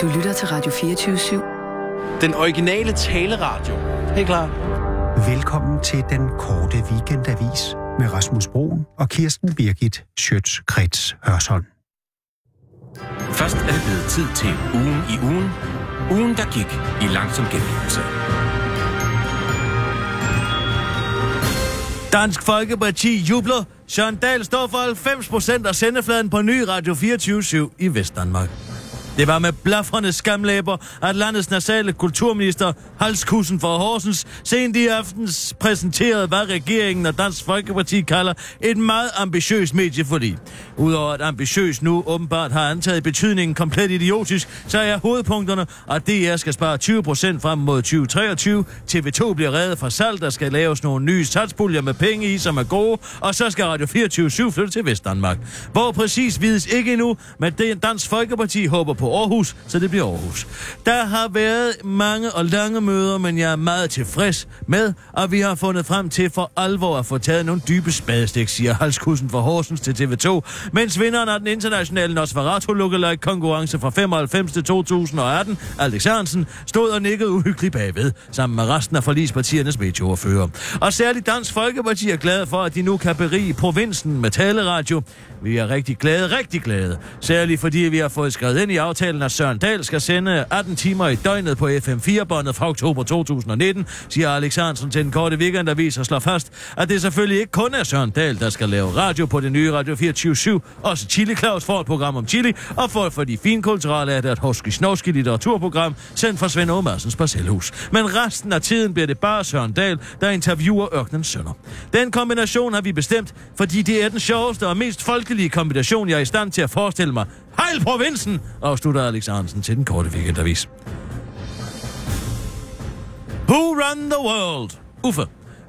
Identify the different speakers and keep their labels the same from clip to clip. Speaker 1: Du lytter til Radio 24 /7.
Speaker 2: Den originale taleradio. Helt klar.
Speaker 3: Velkommen til den korte weekendavis med Rasmus Broen og Kirsten Birgit Schøtz-Krets Hørsholm.
Speaker 4: Først er det blevet tid til ugen i ugen. Ugen, der gik i langsom gengivelse.
Speaker 5: Dansk Folkeparti jubler. Søren Dahl står for 90 procent af sendefladen på ny Radio 24 i Vestdanmark. Det var med blaffrende skamlæber, at landets nasale kulturminister Halskussen fra Horsens sent i aftens præsenterede, hvad regeringen og Dansk Folkeparti kalder et meget ambitiøst medieforlig. Udover at ambitiøs nu åbenbart har antaget betydningen komplet idiotisk, så er hovedpunkterne, at DR skal spare 20% frem mod 2023, TV2 bliver reddet fra salg, der skal laves nogle nye satspuljer med penge i, som er gode, og så skal Radio 24 flytte til Vestdanmark. Hvor præcis vides ikke endnu, men det Dansk Folkeparti håber på Aarhus, så det bliver Aarhus. Der har været mange og lange møder, men jeg er meget tilfreds med, at vi har fundet frem til for alvor at få taget nogle dybe spadestik, siger halskussen fra Horsens til TV2, mens vinderen af den internationale Nosferatu lookalike konkurrence fra 95 til 2018, Alex Hansen, stod og nikkede uhyggeligt bagved, sammen med resten af forlispartiernes medieordfører. Og særligt Dansk Folkeparti er glade for, at de nu kan berige provinsen med taleradio. Vi er rigtig glade, rigtig glade. Særligt fordi vi har fået skrevet ind i aftalen, at Søren Dahl skal sende 18 timer i døgnet på FM4-båndet fra oktober 2019, siger Alex Hansen til den korte weekendavis og slår fast, at det selvfølgelig ikke kun er Søren Dahl, der skal lave radio på det nye Radio 24 Også Chili Claus får et program om Chili, og for, for de finkulturelle er det et Hoski Snovski litteraturprogram, sendt fra Svend Åmarsens parcelhus. Men resten af tiden bliver det bare Søren Dahl, der interviewer Ørkenens sønner. Den kombination har vi bestemt, fordi det er den sjoveste og mest folkelige kombination, jeg er i stand til at forestille mig. Hejl provinsen! afslutter Alex Hansen til den korte weekendavis. Who run the world? Uffe.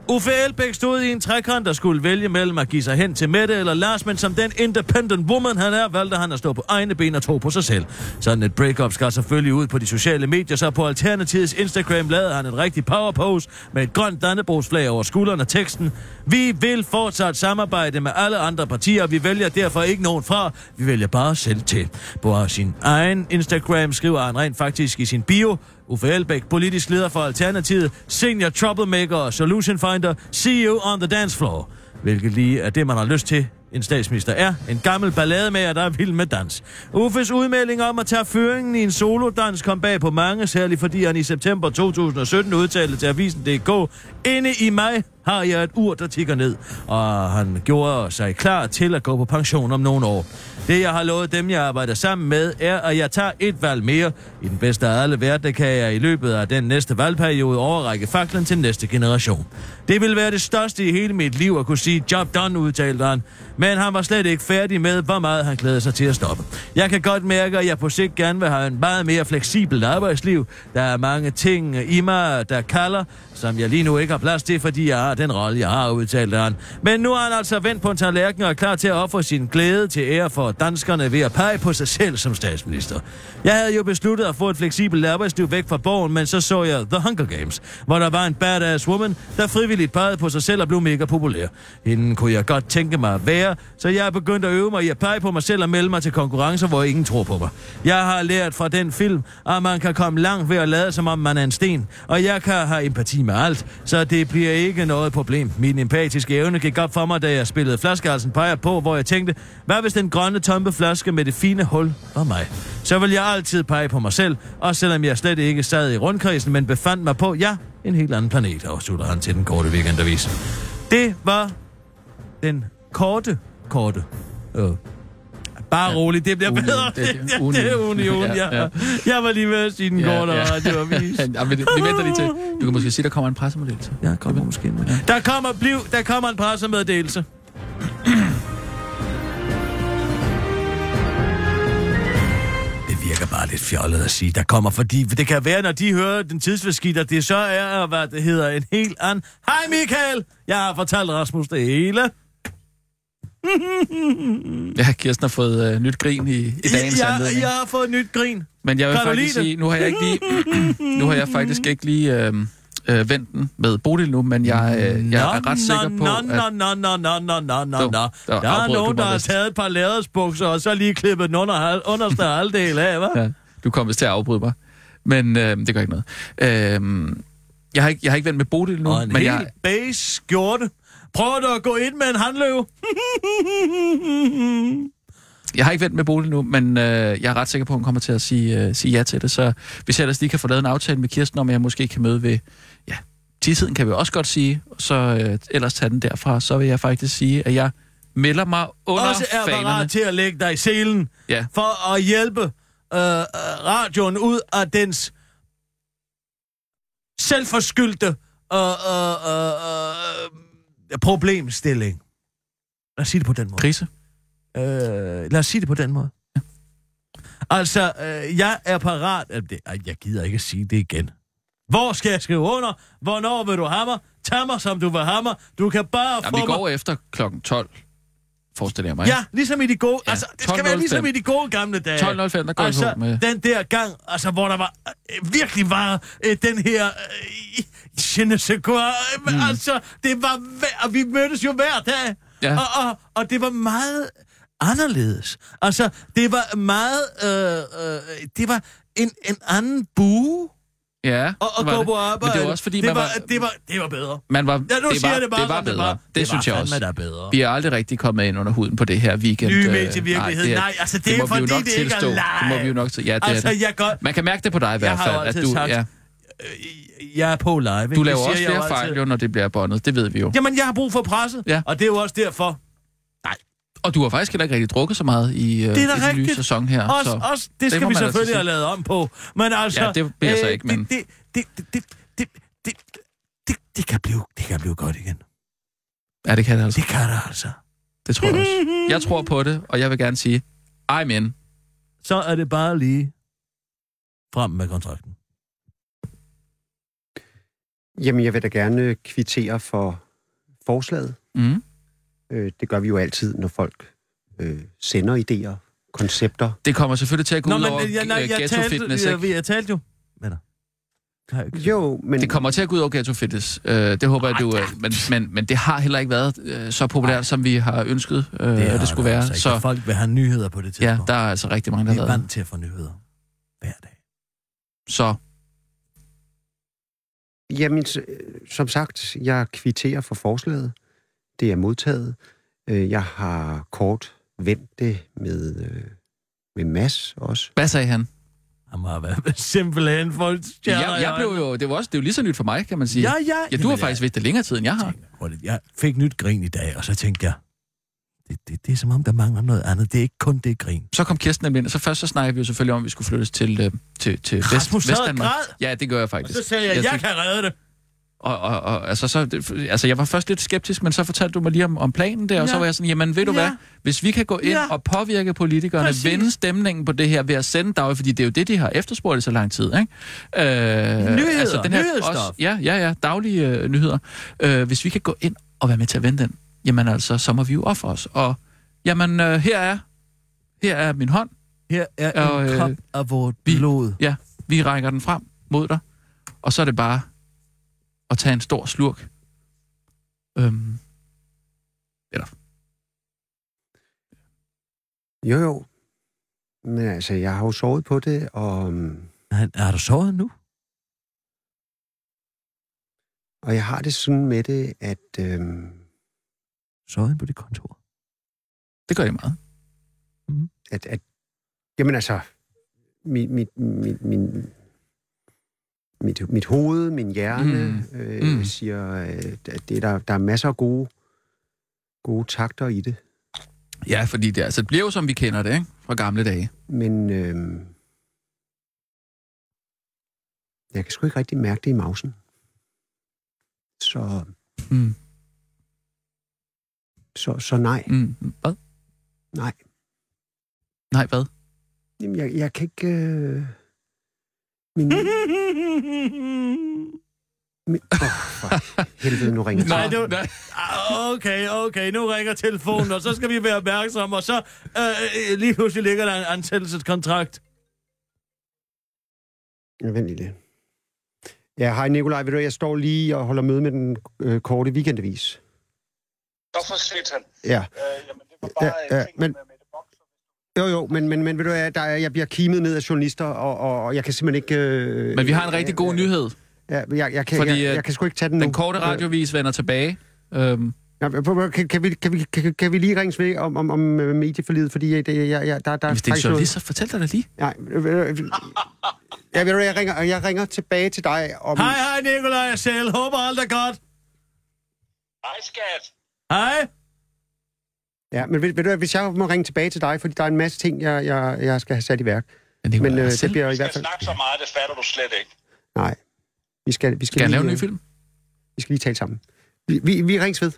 Speaker 5: Uffe Elbæk stod i en trækant, der skulle vælge mellem at give sig hen til Mette eller Lars, men som den independent woman han er, valgte han at stå på egne ben og tro på sig selv. Sådan et breakup skal selvfølgelig ud på de sociale medier, så på Alternativets Instagram lavede han en rigtig power pose med et grønt dannebrogsflag over skulderen og teksten. Vi vil fortsat samarbejde med alle andre partier, og vi vælger derfor ikke nogen fra. Vi vælger bare selv til. På sin egen Instagram skriver han rent faktisk i sin bio, Uffe Elbæk, politisk leder for Alternativet, senior troublemaker og solution finder, CEO on the dance floor. Hvilket lige er det, man har lyst til, en statsminister er. En gammel ballademager, der er vild med dans. Uffes udmelding om at tage føringen i en solodans kom bag på mange, særligt fordi han i september 2017 udtalte til avisen DK, Inde i mig har jeg et ur, der tigger ned, og han gjorde sig klar til at gå på pension om nogle år. Det, jeg har lovet dem, jeg arbejder sammen med, er, at jeg tager et valg mere. I den bedste af alle verdener kan jeg i løbet af den næste valgperiode overrække faklen til næste generation. Det vil være det største i hele mit liv at kunne sige job done, udtalte han. Men han var slet ikke færdig med, hvor meget han glæder sig til at stoppe. Jeg kan godt mærke, at jeg på sigt gerne vil have en meget mere fleksibel arbejdsliv. Der er mange ting i mig, der kalder, som jeg lige nu ikke har plads til, fordi jeg har den rolle, jeg har, udtalte han. Men nu er han altså vendt på en tallerken og er klar til at ofre sin glæde til ære for danskerne ved at pege på sig selv som statsminister. Jeg havde jo besluttet at få et fleksibelt arbejdsliv væk fra borgen, men så så jeg The Hunger Games, hvor der var en badass woman, der frivilligt pegede på sig selv og blev mega populær. Hende kunne jeg godt tænke mig at være, så jeg er begyndt at øve mig i at pege på mig selv og melde mig til konkurrencer, hvor ingen tror på mig. Jeg har lært fra den film, at man kan komme langt ved at lade, som om man er en sten, og jeg kan have empati med alt, så det bliver ikke noget noget problem. Min empatiske evne gik op for mig, da jeg spillede flaskehalsen peger på, hvor jeg tænkte, hvad hvis den grønne tombe flaske med det fine hul var mig? Så vil jeg altid pege på mig selv, også selvom jeg slet ikke sad i rundkredsen, men befandt mig på, ja, en helt anden planet, afslutter han til den korte weekendavis. Det var den korte, korte øh, Bare ja. rolig, det bliver
Speaker 6: Union.
Speaker 5: bedre.
Speaker 6: Det er det.
Speaker 5: Ja, det er
Speaker 6: Union.
Speaker 5: union,
Speaker 6: Ja,
Speaker 5: ja,
Speaker 6: ja.
Speaker 5: ja. Jeg var lige ved at sige den
Speaker 6: Ja,
Speaker 5: korte
Speaker 6: ja.
Speaker 5: radioavis.
Speaker 6: Ja, men det- vi venter lige til. Du kan måske sige, der kommer en pressemodel til.
Speaker 5: Jeg kommer måske med. Der kommer, bliv, der kommer en pressemeddelelse. Det virker bare lidt fjollet at sige, der kommer, fordi det kan være, når de hører den tidsforskidt, at det så er, hvad det hedder, en helt anden... Hej Michael! Jeg har fortalt Rasmus det hele.
Speaker 6: Ja, Kirsten har fået øh, nyt grin i, i dagens
Speaker 5: jeg,
Speaker 6: anledning.
Speaker 5: jeg har fået nyt grin.
Speaker 6: Men jeg vil
Speaker 5: Kan du
Speaker 6: faktisk
Speaker 5: lide det?
Speaker 6: sige, nu har jeg ikke lige, nu har jeg faktisk ikke lige øh, øh, vendt den med Bodil nu, men jeg, øh, jeg er ret sikker på,
Speaker 5: Nå, nå,
Speaker 6: at...
Speaker 5: nå, nå, nå, nå, nå, nå,
Speaker 6: Dog,
Speaker 5: nå.
Speaker 6: der
Speaker 5: Der er
Speaker 6: afbrød du
Speaker 5: nogen,
Speaker 6: mig
Speaker 5: der har
Speaker 6: vist.
Speaker 5: taget et par lædersbukser, og så lige klippet den under, underste halvdel af, hva'?
Speaker 6: Ja, Du kom vist til at afbryde mig. Men øh, det gør ikke noget. Øh, jeg har ikke, jeg har ikke vendt med Bodil nu,
Speaker 5: Og en
Speaker 6: men
Speaker 5: hel
Speaker 6: jeg,
Speaker 5: base skjorte. Prøver du at gå ind med en handløve?
Speaker 6: jeg har ikke vendt med Bodil nu, men øh, jeg er ret sikker på, at hun kommer til at sige, øh, sige ja til det. Så hvis jeg ellers lige kan få lavet en aftale med Kirsten om, at jeg måske kan møde ved... Ja, tiden kan vi også godt sige, så øh, ellers tage den derfra. Så vil jeg faktisk sige, at jeg melder mig under
Speaker 5: Også er parat
Speaker 6: fanerne.
Speaker 5: til at lægge dig i selen
Speaker 6: Ja,
Speaker 5: for at hjælpe øh, øh, radioen ud af dens selvforskyldte øh, øh, øh, øh, problemstilling. Lad os sige det på den måde.
Speaker 6: krise.
Speaker 5: Øh, lad os sige det på den måde. Altså, øh, jeg er parat... Øh, det, ej, jeg gider ikke at sige det igen. Hvor skal jeg skrive under? Hvornår vil du have mig? Tag mig, som du vil have mig. Du kan bare
Speaker 6: Jamen,
Speaker 5: få
Speaker 6: vi går efter klokken 12, forestiller jeg mig.
Speaker 5: mig... Ja, ligesom i de gode... Ja,
Speaker 6: Ja,
Speaker 5: altså, det skal være
Speaker 6: 12.05.
Speaker 5: ligesom i de gode gamle dage.
Speaker 6: 12.05, der går
Speaker 5: altså,
Speaker 6: jeg på med...
Speaker 5: den der gang, altså, hvor der var øh, virkelig var øh, den her... Øh, je ne sais quoi. Øh,
Speaker 6: Mm.
Speaker 5: Altså, det var... hver- Og vi mødtes jo hver dag.
Speaker 6: Ja.
Speaker 5: Og, og, og det var meget anderledes. Altså, det var meget... Øh, øh, det var en, en anden bue
Speaker 6: Ja,
Speaker 5: at, at
Speaker 6: det var
Speaker 5: gå
Speaker 6: det.
Speaker 5: på arbejde.
Speaker 6: Men det var også fordi,
Speaker 5: det
Speaker 6: man
Speaker 5: var,
Speaker 6: var...
Speaker 5: Det var, det var bedre.
Speaker 6: man var,
Speaker 5: Ja, nu
Speaker 6: det
Speaker 5: siger
Speaker 6: var,
Speaker 5: jeg det bare,
Speaker 6: det var
Speaker 5: som
Speaker 6: bedre.
Speaker 5: Det, var.
Speaker 6: Det, det synes jeg også.
Speaker 5: Det var fandme da bedre.
Speaker 6: Vi er aldrig rigtig kommet ind under huden på det her weekend.
Speaker 5: Nye
Speaker 6: øh,
Speaker 5: medievirkelighed.
Speaker 6: det er-
Speaker 5: Nej, altså, det er
Speaker 6: må vi
Speaker 5: jo fordi,
Speaker 6: nok
Speaker 5: det ikke er
Speaker 6: tilstå. Det må
Speaker 5: live.
Speaker 6: vi jo nok til. Ja, det
Speaker 5: Altså,
Speaker 6: er det.
Speaker 5: jeg kan godt...
Speaker 6: Man kan mærke det på dig i hvert
Speaker 5: Jeg har jo
Speaker 6: fald.
Speaker 5: altid
Speaker 6: du,
Speaker 5: sagt,
Speaker 6: ja,
Speaker 5: øh, jeg er på live. ikke?
Speaker 6: du
Speaker 5: Det
Speaker 6: laver
Speaker 5: siger
Speaker 6: også
Speaker 5: jeg jo
Speaker 6: flere
Speaker 5: altid.
Speaker 6: fejl, jo, når det bliver båndet. Det ved vi jo.
Speaker 5: Jamen, jeg har brug for presset,
Speaker 6: Ja.
Speaker 5: og det er jo også derfor.
Speaker 6: Og du har faktisk heller ikke rigtig drukket så meget i, øh,
Speaker 5: Det er da
Speaker 6: i den nye
Speaker 5: rigtigt.
Speaker 6: sæson her.
Speaker 5: også,
Speaker 6: så.
Speaker 5: også, det skal
Speaker 6: må
Speaker 5: vi
Speaker 6: man altså
Speaker 5: selvfølgelig
Speaker 6: sige.
Speaker 5: have lavet om på. Men altså...
Speaker 6: Ja, det bliver så ikke, men-
Speaker 5: Det, det, det, det, det, det, det, det, kan blive, det kan blive godt igen.
Speaker 6: Ja, det kan det altså.
Speaker 5: Det kan det altså.
Speaker 6: Det tror jeg også. Jeg tror på det, og jeg vil gerne sige, I'm in.
Speaker 5: Så er det bare lige frem med kontrakten.
Speaker 1: Jamen, jeg vil da gerne kvittere for forslaget.
Speaker 6: Mm.
Speaker 1: Øh, det gør vi jo altid, når folk øh, sender idéer, koncepter.
Speaker 6: Det kommer selvfølgelig til at gå ud over
Speaker 5: jeg,
Speaker 6: øh, Ghetto Fitness,
Speaker 5: jeg,
Speaker 6: ikke?
Speaker 5: jeg, jeg talte jo med dig. Har jeg ikke-
Speaker 1: Jo, men...
Speaker 6: Det kommer til at gå ud over Ghetto Fitness. Øh, det håber jeg, du... Øh, men, men, men det har heller ikke været øh, så populært, som vi har ønsket, øh, det,
Speaker 5: har
Speaker 6: det skulle være.
Speaker 5: Altså ikke,
Speaker 6: Så
Speaker 5: og folk vil have nyheder på det
Speaker 6: ja,
Speaker 5: tidspunkt.
Speaker 6: der er altså rigtig mange, der
Speaker 5: Vi
Speaker 6: har
Speaker 5: er
Speaker 6: lavet
Speaker 5: vant til at få nyheder. Hver dag.
Speaker 6: det. Så
Speaker 1: Jamen, s- øh, som sagt, jeg kvitterer for forslaget. Det er modtaget. Øh, Jeg har kort vendt det med, øh, med Mads også.
Speaker 6: hvad sagde han?
Speaker 5: Han må have været simpelthen for...
Speaker 6: Ja, jeg, jeg blev jo... Det var, også, det er jo lige så nyt for mig, kan man sige.
Speaker 5: Ja,
Speaker 6: Ja,
Speaker 5: ja.
Speaker 6: ja du har faktisk vidst det længere tid, end jeg har.
Speaker 5: Hurtigt. Jeg fik nyt grin i dag, og så tænkte jeg, det, det, det er som om, der mangler noget andet. Det er ikke kun det grin.
Speaker 6: Så kom Kirsten nemlig ind, og så først så snakkede vi jo selvfølgelig om, at vi skulle flyttes til, øh, til, til Vest,
Speaker 5: Rasmus sad og
Speaker 6: Vestdanmark.
Speaker 5: græd.
Speaker 6: Ja, det gør jeg
Speaker 5: Og
Speaker 6: faktisk.
Speaker 5: så sagde jeg, jeg,
Speaker 6: fik-
Speaker 5: kan redde det.
Speaker 6: Og, og, og altså, så, det- altså, jeg var først lidt skeptisk, men så fortalte du mig lige om, om planen der, ja. og så
Speaker 5: Ja.
Speaker 6: var jeg sådan, jamen ved du
Speaker 5: Ja.
Speaker 6: ja. hvad, hvis vi kan gå ind
Speaker 5: Ja.
Speaker 6: ja. og påvirke politikerne,
Speaker 5: Præcis.
Speaker 6: Præcis. vende stemningen på det her ved at sende dag, fordi det er jo det, de har efterspurgt i så lang tid, ikke? Øh, altså,
Speaker 5: Nyheder, nyhedsstof.
Speaker 6: ja, ja, ja, daglige øh, nyheder. Øh, hvis vi kan gå ind og være med til at vende den, jamen altså, så må vi jo ofre os. Og jamen, øh, her er her er min hånd,
Speaker 5: Her er
Speaker 6: Og,
Speaker 5: en
Speaker 6: øh,
Speaker 5: kop af vores
Speaker 6: vi-
Speaker 5: blod.
Speaker 6: ja, vi rækker den frem mod dig, og så er det bare at tage en stor slurk. Øhm,
Speaker 1: Jo, jo. Men altså, jeg har jo sovet på det, og,
Speaker 5: Han, er du sovet nu?
Speaker 1: og jeg har det sådan med det, at... Øh,
Speaker 5: Sovet inde på dit kontor?
Speaker 6: det gør det meget.
Speaker 1: at, at jamen altså, mit, mit, mit, min, mit, mit hoved, min hjerne mm. Øh,
Speaker 6: Mm.
Speaker 1: siger, øh, at det, der, der er masser af gode, gode takter i det.
Speaker 6: Ja, fordi det, altså, det bliver jo, som vi kender det, ikke? Fra gamle dage.
Speaker 1: Men øh, jeg kan sgu ikke rigtig mærke det i mausen. Så,
Speaker 6: Mm.
Speaker 1: så, så nej.
Speaker 6: Mm. Hvad?
Speaker 1: Nej.
Speaker 6: Nej, hvad?
Speaker 1: Jamen, jeg, jeg kan ikke... Øh, min, min, oh, for helvede, nu ringer
Speaker 5: Nej,
Speaker 1: telefonen.
Speaker 5: det var- Ah, Okay, okay, nu ringer telefonen, og så skal vi være opmærksomme, og så øh, øh, lige pludselig ligger der en ansættelseskontrakt.
Speaker 1: Ja, Vent lige lidt. Ja, hej Nikolaj, ved du, jeg står lige og holder møde med den øh, korte weekendavis.
Speaker 7: Nå, for satan.
Speaker 1: Ja,
Speaker 7: Øh, jamen, det var
Speaker 1: ja,
Speaker 7: bare
Speaker 1: ja,
Speaker 7: ja, ja,
Speaker 1: men-
Speaker 7: med Mette Box.
Speaker 1: Jo, jo, men, men, men ved du hvad, der, er- jeg bliver kimet ned af journalister, og, og, og jeg kan simpelthen ikke... Øh,
Speaker 6: Men vi har en rigtig god nyhed.
Speaker 1: Ja, jeg, jeg, kan,
Speaker 6: Fordi,
Speaker 1: Fordi, jeg,
Speaker 6: øh,
Speaker 1: jeg kan sgu ikke tage den nu.
Speaker 6: Den korte radiovis vender tilbage. Øhm,
Speaker 1: Ja, prøv- prøv- Kan, kan, vi, kan, vi, kan, kan vi lige ringes ved om, om, om øh, medieforlidet? Fordi jeg, det, jeg, jeg, der, der
Speaker 6: hvis det er en journalist, så fortæl dig da lige.
Speaker 1: Nej, øh, øh, øh, ja, ved du, hvad, jeg ringer, jeg ringer tilbage til dig om...
Speaker 5: Hej, hej, Nikolaj og Sel. Håber alt er godt.
Speaker 7: Hej, skat.
Speaker 5: Hej.
Speaker 1: Ja, men ved, ved du, hvad, hvis jeg må ringe tilbage til dig, fordi der er en masse ting, jeg, jeg, jeg skal have sat i værk.
Speaker 6: Ja, Nikolaj,
Speaker 1: Men øh,
Speaker 6: Sel.
Speaker 1: det bliver i
Speaker 7: Jeg
Speaker 1: hvert
Speaker 7: skal
Speaker 1: fald...
Speaker 7: snakke så meget, det fatter du slet ikke.
Speaker 1: Nej, vi skal, vi skal,
Speaker 6: Skal han
Speaker 1: lige,
Speaker 6: lave en ny
Speaker 1: øh,
Speaker 6: film?
Speaker 1: Vi skal lige tale sammen. Vi, vi, vi rings ved.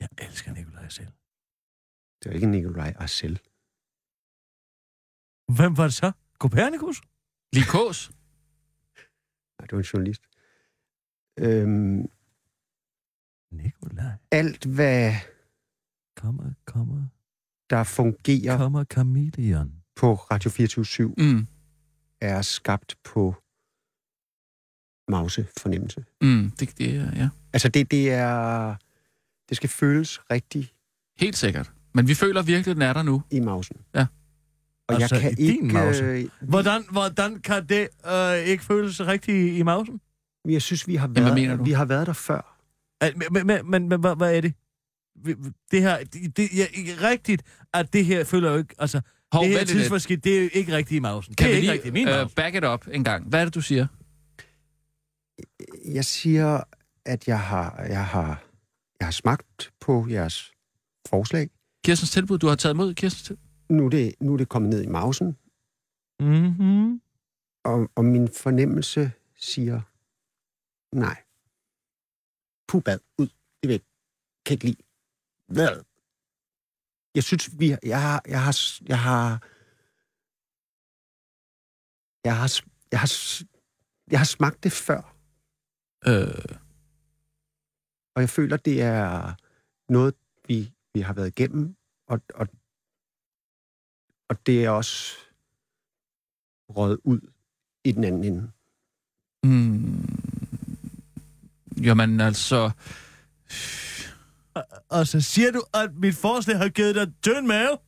Speaker 5: Jeg elsker Nikolaj Sel.
Speaker 1: Det er ikke Nikolaj Arcel.
Speaker 5: Hvem var det så? Copernicus?
Speaker 6: Lige kås?
Speaker 1: Nej, det var en journalist. Øhm,
Speaker 5: Nikolaj.
Speaker 1: alt, hvad
Speaker 5: Kommer, kommer,
Speaker 1: der fungerer
Speaker 5: kommer Chameleon.
Speaker 1: på Radio 24
Speaker 6: Mm.
Speaker 1: er skabt på mausefornemmelse.
Speaker 6: Mm. Det, det er, ja.
Speaker 1: Altså det, det er... Det skal føles rigtigt
Speaker 6: Helt sikkert. Men vi føler virkelig, at den er der nu.
Speaker 1: i mausen.
Speaker 6: Ja.
Speaker 1: Og
Speaker 5: Altså,
Speaker 1: jeg kan
Speaker 5: i din
Speaker 1: ikke...
Speaker 5: mause?
Speaker 1: øh,
Speaker 5: Hvordan, hvordan kan det øh, ikke føles rigtigt i mausen?
Speaker 1: Jeg synes, vi har
Speaker 6: hvad
Speaker 1: været,
Speaker 6: mener du?
Speaker 1: vi har været der før.
Speaker 5: Al- Men, men, men, men, men hvad, hvad er det? Vi- vi- Det her, det, det, ja, ikke rigtigt, at det her føler jo ikke, altså,
Speaker 6: Hov,
Speaker 5: det her
Speaker 6: vent lidt.
Speaker 5: tidsmaskine, det er jo ikke rigtigt i mausen.
Speaker 6: Kan vi
Speaker 5: det er ikke
Speaker 6: lige
Speaker 5: rigtigt i min
Speaker 6: øh,
Speaker 5: mausen.
Speaker 6: back it up en gang? Hvad er det, du siger?
Speaker 1: Jeg siger, at jeg har, jeg har, jeg har smagt på jeres forslag.
Speaker 6: Kirstens tilbud, du har taget imod Kirstens tilbud?
Speaker 1: Nu er det, nu er det kommet ned i mausen,
Speaker 5: Mm-hmm.
Speaker 1: og, og min fornemmelse siger nej. Pubad, ud. Det vil jeg ikke. kan ikke lide. Hvad? Jeg synes, vi har, jeg, har, jeg har, s- jeg har, jeg har, s- jeg har, s- jeg har smagt det før,
Speaker 6: Øh,
Speaker 1: og jeg føler, det er noget, vi, vi har været igennem, og, og, og det er også røget ud i den anden ende.
Speaker 6: mm, jamen altså...
Speaker 5: Og så siger du, at mit forslag har givet dig tynd mave?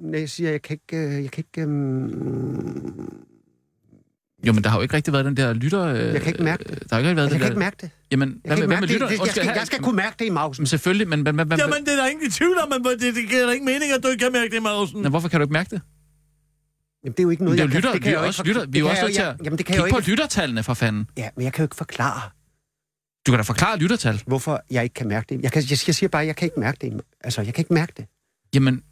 Speaker 1: Nej, jeg siger, jeg kan ikke... øh, Jeg kan ikke, øhm,
Speaker 6: Jo, men der har jo ikke rigtig været den der lytter... Øh,
Speaker 1: Jeg kan ikke mærke
Speaker 6: det. Der har ikke rigtig været
Speaker 1: jeg
Speaker 6: den
Speaker 1: kan
Speaker 6: der...
Speaker 1: ikke mærke det.
Speaker 6: Jamen,
Speaker 1: Jeg, kan
Speaker 6: hvad,
Speaker 1: ikke
Speaker 6: hvad
Speaker 1: mærke
Speaker 6: med
Speaker 1: det.
Speaker 6: lytter?
Speaker 1: Jeg, jeg, skal, jeg skal kunne mærke det i mausen.
Speaker 6: Men selvfølgelig, men... men, men, men
Speaker 5: Jamen, det er der ingen tvivl om, men hvor- det, det giver da ingen mening, at du ikke kan mærke det i mausen.
Speaker 6: Nå, hvorfor kan du ikke mærke det?
Speaker 1: Jamen, det er jo ikke noget,
Speaker 6: det er jo
Speaker 1: jeg kan-
Speaker 6: lytter,
Speaker 1: det
Speaker 6: vi
Speaker 1: kan
Speaker 6: er
Speaker 1: jeg jo
Speaker 6: også
Speaker 1: ikke
Speaker 6: lytter.
Speaker 1: forkl-
Speaker 6: Vi er jo
Speaker 1: det
Speaker 6: også
Speaker 1: kan jeg
Speaker 6: nødt til
Speaker 1: jo
Speaker 6: at
Speaker 1: ikke- Jamen, det kan jeg
Speaker 6: kigge
Speaker 1: jo
Speaker 6: på
Speaker 1: ikke...
Speaker 6: lyttertallene, for fanden.
Speaker 1: Ja, men jeg kan jo ikke forklare,
Speaker 6: Du kan da forklare lyttertal.
Speaker 1: hvorfor jeg ikke kan mærke det. Jeg, kan, jeg, jeg siger bare, jeg kan ikke mærke det. i- Altså, jeg kan ikke mærke det.
Speaker 6: Jamen,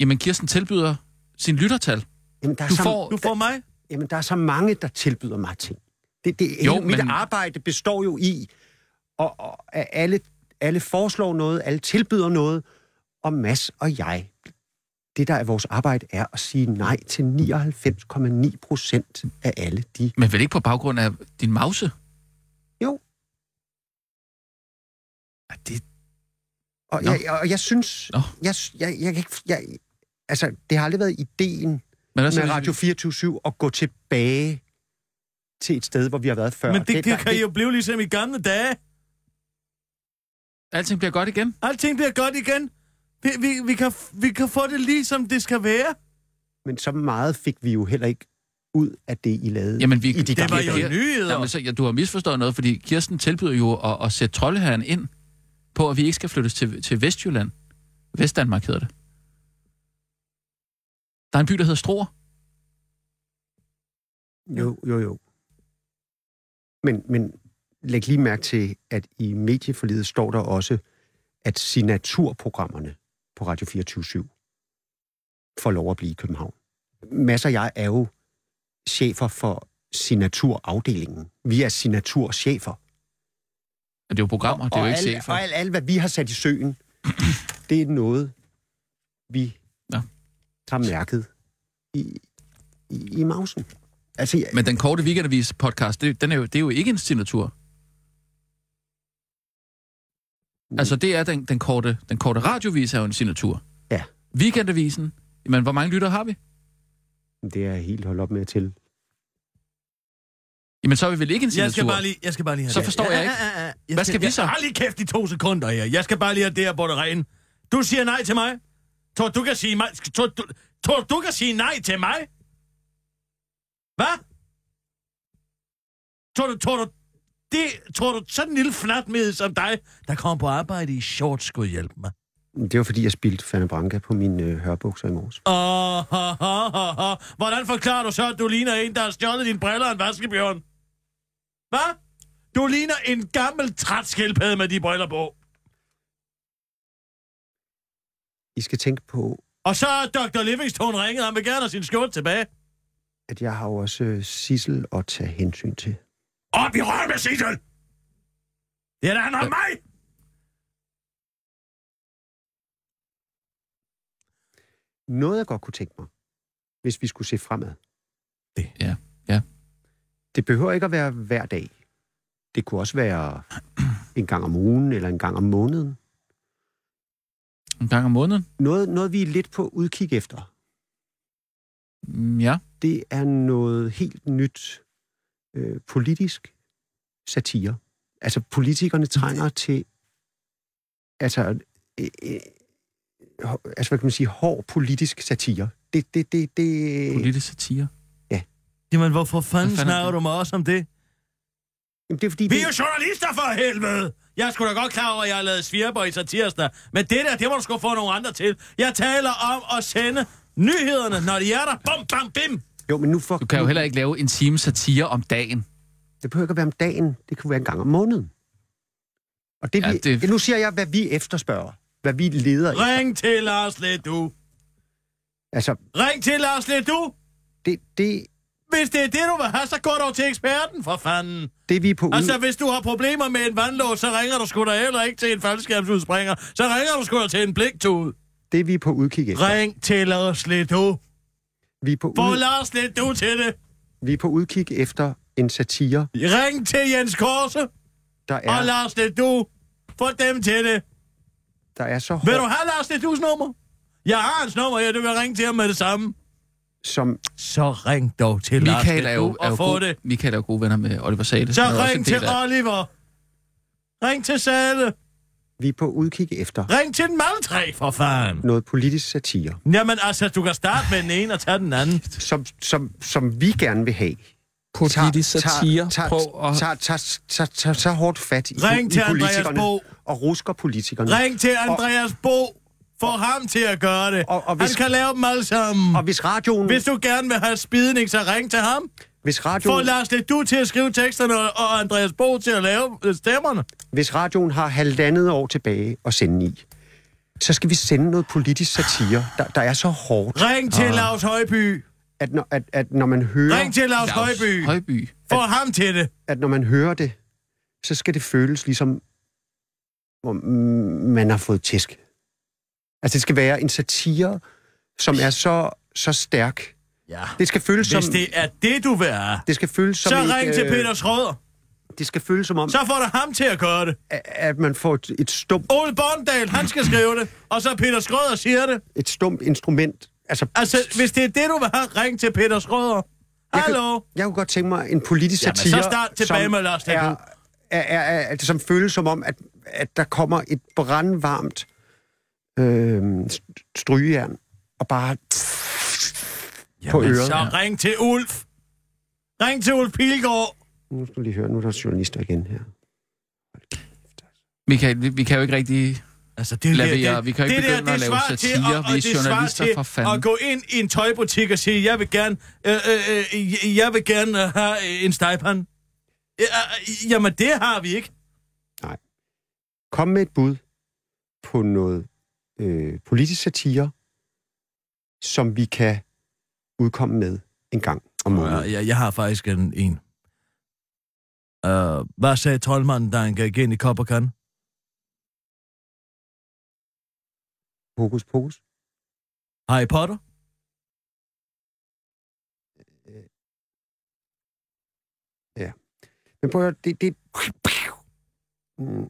Speaker 6: jamen Kirsten tilbyder sin lyttertal.
Speaker 1: Jamen, der er,
Speaker 6: Du
Speaker 1: så,
Speaker 6: får...
Speaker 5: Du får mig.
Speaker 1: jamen, der er så mange, der tilbyder mig ting. Det, det,
Speaker 6: Jo,
Speaker 1: jo, hele, mit
Speaker 6: men-
Speaker 1: arbejde består jo i, og, og, at alle, alle foreslår noget, alle tilbyder noget, og Mads og jeg det, der er vores arbejde, er at sige nej til 99,9 procent af alle de...
Speaker 6: Men vel ikke på baggrund af din mause?
Speaker 1: Jo.
Speaker 6: Ej, Det,
Speaker 1: Og,
Speaker 6: Nå.
Speaker 1: jeg, og jeg synes...
Speaker 6: Nå.
Speaker 1: Jeg, jeg, jeg, kan ikke... jeg, altså, det har aldrig været ideen
Speaker 6: men også,
Speaker 1: med Radio 24 at gå tilbage til et sted, hvor vi har været før.
Speaker 5: Men det,
Speaker 1: der-
Speaker 5: det kan jo blive ligesom i gamle dage.
Speaker 6: Alting bliver godt igen.
Speaker 5: Alting bliver godt igen. Vi, vi, vi, kan, vi kan få det lige, som det skal være.
Speaker 1: Men så meget fik vi jo heller ikke ud af det, I lavede.
Speaker 6: Jamen, vi,
Speaker 1: I de
Speaker 6: det
Speaker 1: gamle
Speaker 5: var jo
Speaker 1: dage.
Speaker 5: nyheder.
Speaker 6: Jamen, så, ja, du har misforstået noget, fordi Kirsten tilbyder jo at, at sætte troldeherren ind på, at vi ikke skal flyttes til, til Vestjylland. Vestdanmark hedder det. Der er en by, der hedder Struer.
Speaker 1: Jo, jo, jo. Men, men læg lige mærke til, at i medieforlidet står der også, at signaturprogrammerne på Radio 24 får lov at blive i København. Masser og jeg er jo chefer for signaturafdelingen. Vi er signaturchefer.
Speaker 6: Og det er jo programmer, det er jo ikke
Speaker 1: alt,
Speaker 6: set for.
Speaker 1: Og alt, alt, hvad vi har sat i søen, det er noget, vi
Speaker 6: Nå.
Speaker 1: ja. har mærket i, i, i mausen. Altså, jeg-
Speaker 6: Men den korte weekendavis podcast, det, den er jo, det er jo ikke en signatur. Altså, det er den, den, korte, den korte radiovis er jo en signatur.
Speaker 1: Ja.
Speaker 6: Weekendavisen, jamen, hvor mange lytter har vi?
Speaker 1: Det er jeg helt holdt op med at til.
Speaker 6: Jamen, så er vi vel ikke en signatur?
Speaker 5: Jeg skal, bare lige, jeg skal bare lige have
Speaker 6: Så
Speaker 5: det.
Speaker 6: forstår jeg ikke.
Speaker 5: ja, ja. Jeg
Speaker 6: Hvad skal vi så?
Speaker 5: Jeg har lige kæft i to sekunder her. Jeg skal bare lige have det her på det rene. Du siger nej til mig. Tror du kan sige, mig, tror, du, tror, du kan sige nej til mig? Hvad? Tror du, tror du, det, tror du sådan en lille flatmed som dig, der kommer på arbejde i shorts, skulle hjælpe mig?
Speaker 1: Det var, fordi jeg spildte Fanny Branca på mine øh, hørbukser i morges.
Speaker 5: Åh, ha, ha, ha, ha. Hvordan forklarer du så, at du ligner en, der har stjålet dine briller af en vaskebjørn? Hvad? Du ligner en gammel træt skildpadde med de briller på.
Speaker 1: I skal tænke på,
Speaker 5: Og så er Dr. Livingstone ringet, han vil gerne have sin skjort tilbage.
Speaker 1: at jeg har jo også øh, Sissel at tage hensyn til.
Speaker 5: Op i røven med Sissel! Det er da han om mig!
Speaker 1: Noget, jeg godt kunne tænke mig, hvis vi skulle se fremad.
Speaker 5: Det.
Speaker 6: Ja, ja.
Speaker 1: Det behøver ikke at være hver dag. Det kunne også være en gang om ugen eller en gang om måneden.
Speaker 6: En gang om måneden?
Speaker 1: Noget, noget vi er lidt på udkig efter,
Speaker 6: Mm, Ja.
Speaker 1: det er noget helt nyt øh, politisk satire. Altså, politikerne trænger til altså, øh, øh, hår- altså, hvad kan man sige, hård politisk satire. Det, det, det, det...
Speaker 6: Politisk satire.
Speaker 5: Jamen, hvorfor fanden
Speaker 6: Hvad fanden er
Speaker 5: snakker
Speaker 6: det?
Speaker 5: du mig også om det?
Speaker 1: Jamen, det er fordi,
Speaker 5: Vi
Speaker 1: det,
Speaker 5: er jo journalister for helvede! Jeg er sgu da godt klar over, at jeg har lavet svirper i satirsdag. Men det der, det må du sgu få nogle andre til. Jeg taler om at sende nyhederne, når de er der. Bum, bam, bim!
Speaker 1: jo, men nu for,
Speaker 6: Du kan jo heller ikke lave en time satire om dagen.
Speaker 1: Det behøver ikke at være om dagen, det kan være en gang om måneden. Og det,
Speaker 6: Ja,
Speaker 1: ja, vi,
Speaker 6: det-
Speaker 1: det... Nu siger jeg, hvad vi efterspørger, hvad vi leder efter.
Speaker 5: Ring til Lars Ledu.
Speaker 1: Altså,
Speaker 5: Ring til Lars Ledu.
Speaker 1: det, det,
Speaker 5: Hvis det er det, du vil have, så gå dog til eksperten, for fanden.
Speaker 1: det vi er på ude...
Speaker 5: Altså, hvis du har problemer med en vandlås, så ringer du sgu da heller ikke til en faldskærmsudspringer. Så ringer du sgu da til en bliktud.
Speaker 1: det vi er på udkig efter.
Speaker 5: Ring til Lars Leto.
Speaker 1: Vi er på,
Speaker 5: Få
Speaker 6: Mm.
Speaker 1: ude,
Speaker 5: Lars Leto til det.
Speaker 1: vi er på udkig efter en satire,
Speaker 5: Ring til Jens Korse
Speaker 1: der
Speaker 5: ja. og
Speaker 1: er,
Speaker 5: Lars Leto. Få dem til det.
Speaker 1: der er så
Speaker 5: Vil du
Speaker 1: hård,
Speaker 5: have Lars Letos nummer? Jeg har hans nummer, ja, du vil ringe til ham med det samme.
Speaker 1: som
Speaker 5: Så ring dog til
Speaker 6: Michael er
Speaker 5: Lars
Speaker 6: jo,
Speaker 5: Leto
Speaker 6: er jo
Speaker 5: og få
Speaker 6: gode,
Speaker 5: det.
Speaker 6: Michael er jo gode venner med Oliver Sade.
Speaker 5: Så
Speaker 6: Han er jo også en
Speaker 5: ring til
Speaker 6: del af-
Speaker 5: Oliver. Ring til Sale.
Speaker 1: vi er på udkig efter.
Speaker 5: Ring til den maltræ, for fanden.
Speaker 1: Noget politisk satire,
Speaker 5: Jamen altså, du kan starte med den ene og tage den anden.
Speaker 1: som, som, som vi gerne vil have.
Speaker 8: Politisk satire.
Speaker 1: tager,
Speaker 8: Prøv at...
Speaker 1: tager, tager, tager, tager, tager hårdt fat i,
Speaker 5: Ring
Speaker 1: i
Speaker 5: til Andreas
Speaker 1: politikerne
Speaker 5: Bo.
Speaker 1: og rusker politikerne.
Speaker 5: Ring til Andreas Bo. Få ham til at gøre det.
Speaker 1: Og- og
Speaker 5: hvis,
Speaker 1: hvis-
Speaker 5: Han kan lave dem alle sammen.
Speaker 1: Og hvis radioen...
Speaker 5: hvis du gerne vil have spidning, så ring til ham.
Speaker 1: hvis radioen...
Speaker 5: Få Lars Lidt du til at skrive teksterne, og- og Andreas Bo til at lave øh, stemmerne.
Speaker 1: hvis radioen har halvandet år tilbage at sende i, så skal vi sende noget politisk satire, der, der er så hårdt,
Speaker 5: Ring til
Speaker 6: Ah.
Speaker 5: Lars Højby.
Speaker 1: at når, at, at når man hører,
Speaker 5: Ring til Lars Højby.
Speaker 6: Højby.
Speaker 5: Få ham til det.
Speaker 1: at når man hører det, så skal det føles ligesom, hvor man har fået tæsk. Altså, det skal være en satire, som er så, så stærk.
Speaker 5: Ja.
Speaker 1: Det skal føles
Speaker 5: Hvis
Speaker 1: som...
Speaker 5: det er det, du vil have,
Speaker 1: det skal føles som
Speaker 5: så
Speaker 1: et,
Speaker 5: ring til
Speaker 1: øh,
Speaker 5: Peter Schrøder.
Speaker 1: Det skal føles som om,
Speaker 5: Så får du ham til at gøre det.
Speaker 1: at, at man får et, et stumt,
Speaker 5: Ole Borndal, han skal skrive det. Og så Peter Schrøder siger det.
Speaker 1: et stumt instrument. Altså,
Speaker 5: Altså, hvis det er det, du vil have, ring til Peter Schrøder.
Speaker 1: Jeg kunne-
Speaker 5: Hallo?
Speaker 1: Jeg kunne godt tænke mig en politisk
Speaker 5: Jamen,
Speaker 1: satire,
Speaker 5: så start tilbage med Lars
Speaker 1: er,
Speaker 5: Lehmann.
Speaker 1: er, er, er, er, som føles som om, at, at der kommer et brandvarmt øh, st- strygejern, og bare på øret.
Speaker 5: Så ring til Ulf. Ring til Ulf Pilgaard.
Speaker 1: Nu skal du lige høre, nu er der journalister igen her.
Speaker 6: Michael, vi, vi kan jo ikke rigtig...
Speaker 5: Altså, det,
Speaker 6: Lad
Speaker 5: der-
Speaker 6: være, vi kan jo ikke begynde
Speaker 5: det er
Speaker 6: at lave
Speaker 5: svar til
Speaker 6: satire,
Speaker 5: at-
Speaker 6: vi er
Speaker 5: det svar
Speaker 6: journalister
Speaker 5: til
Speaker 6: for fanden.
Speaker 5: At gå ind i en tøjbutik og sige, jeg vil gerne, øh, øh, øh, jeg vil gerne øh, have en stejpan. Ja, øh, jamen, det har vi ikke.
Speaker 1: Kom med et bud på noget øh, politisk satire, som vi kan udkomme med en gang om måneden.
Speaker 5: Jeg, jeg har faktisk en. en. Uh, hvad sagde troldmanden, da han gik ind i Copperkan?
Speaker 1: Hokus pokus.
Speaker 5: Harry Potter?
Speaker 1: Men prøv at høre, det... det... Mm.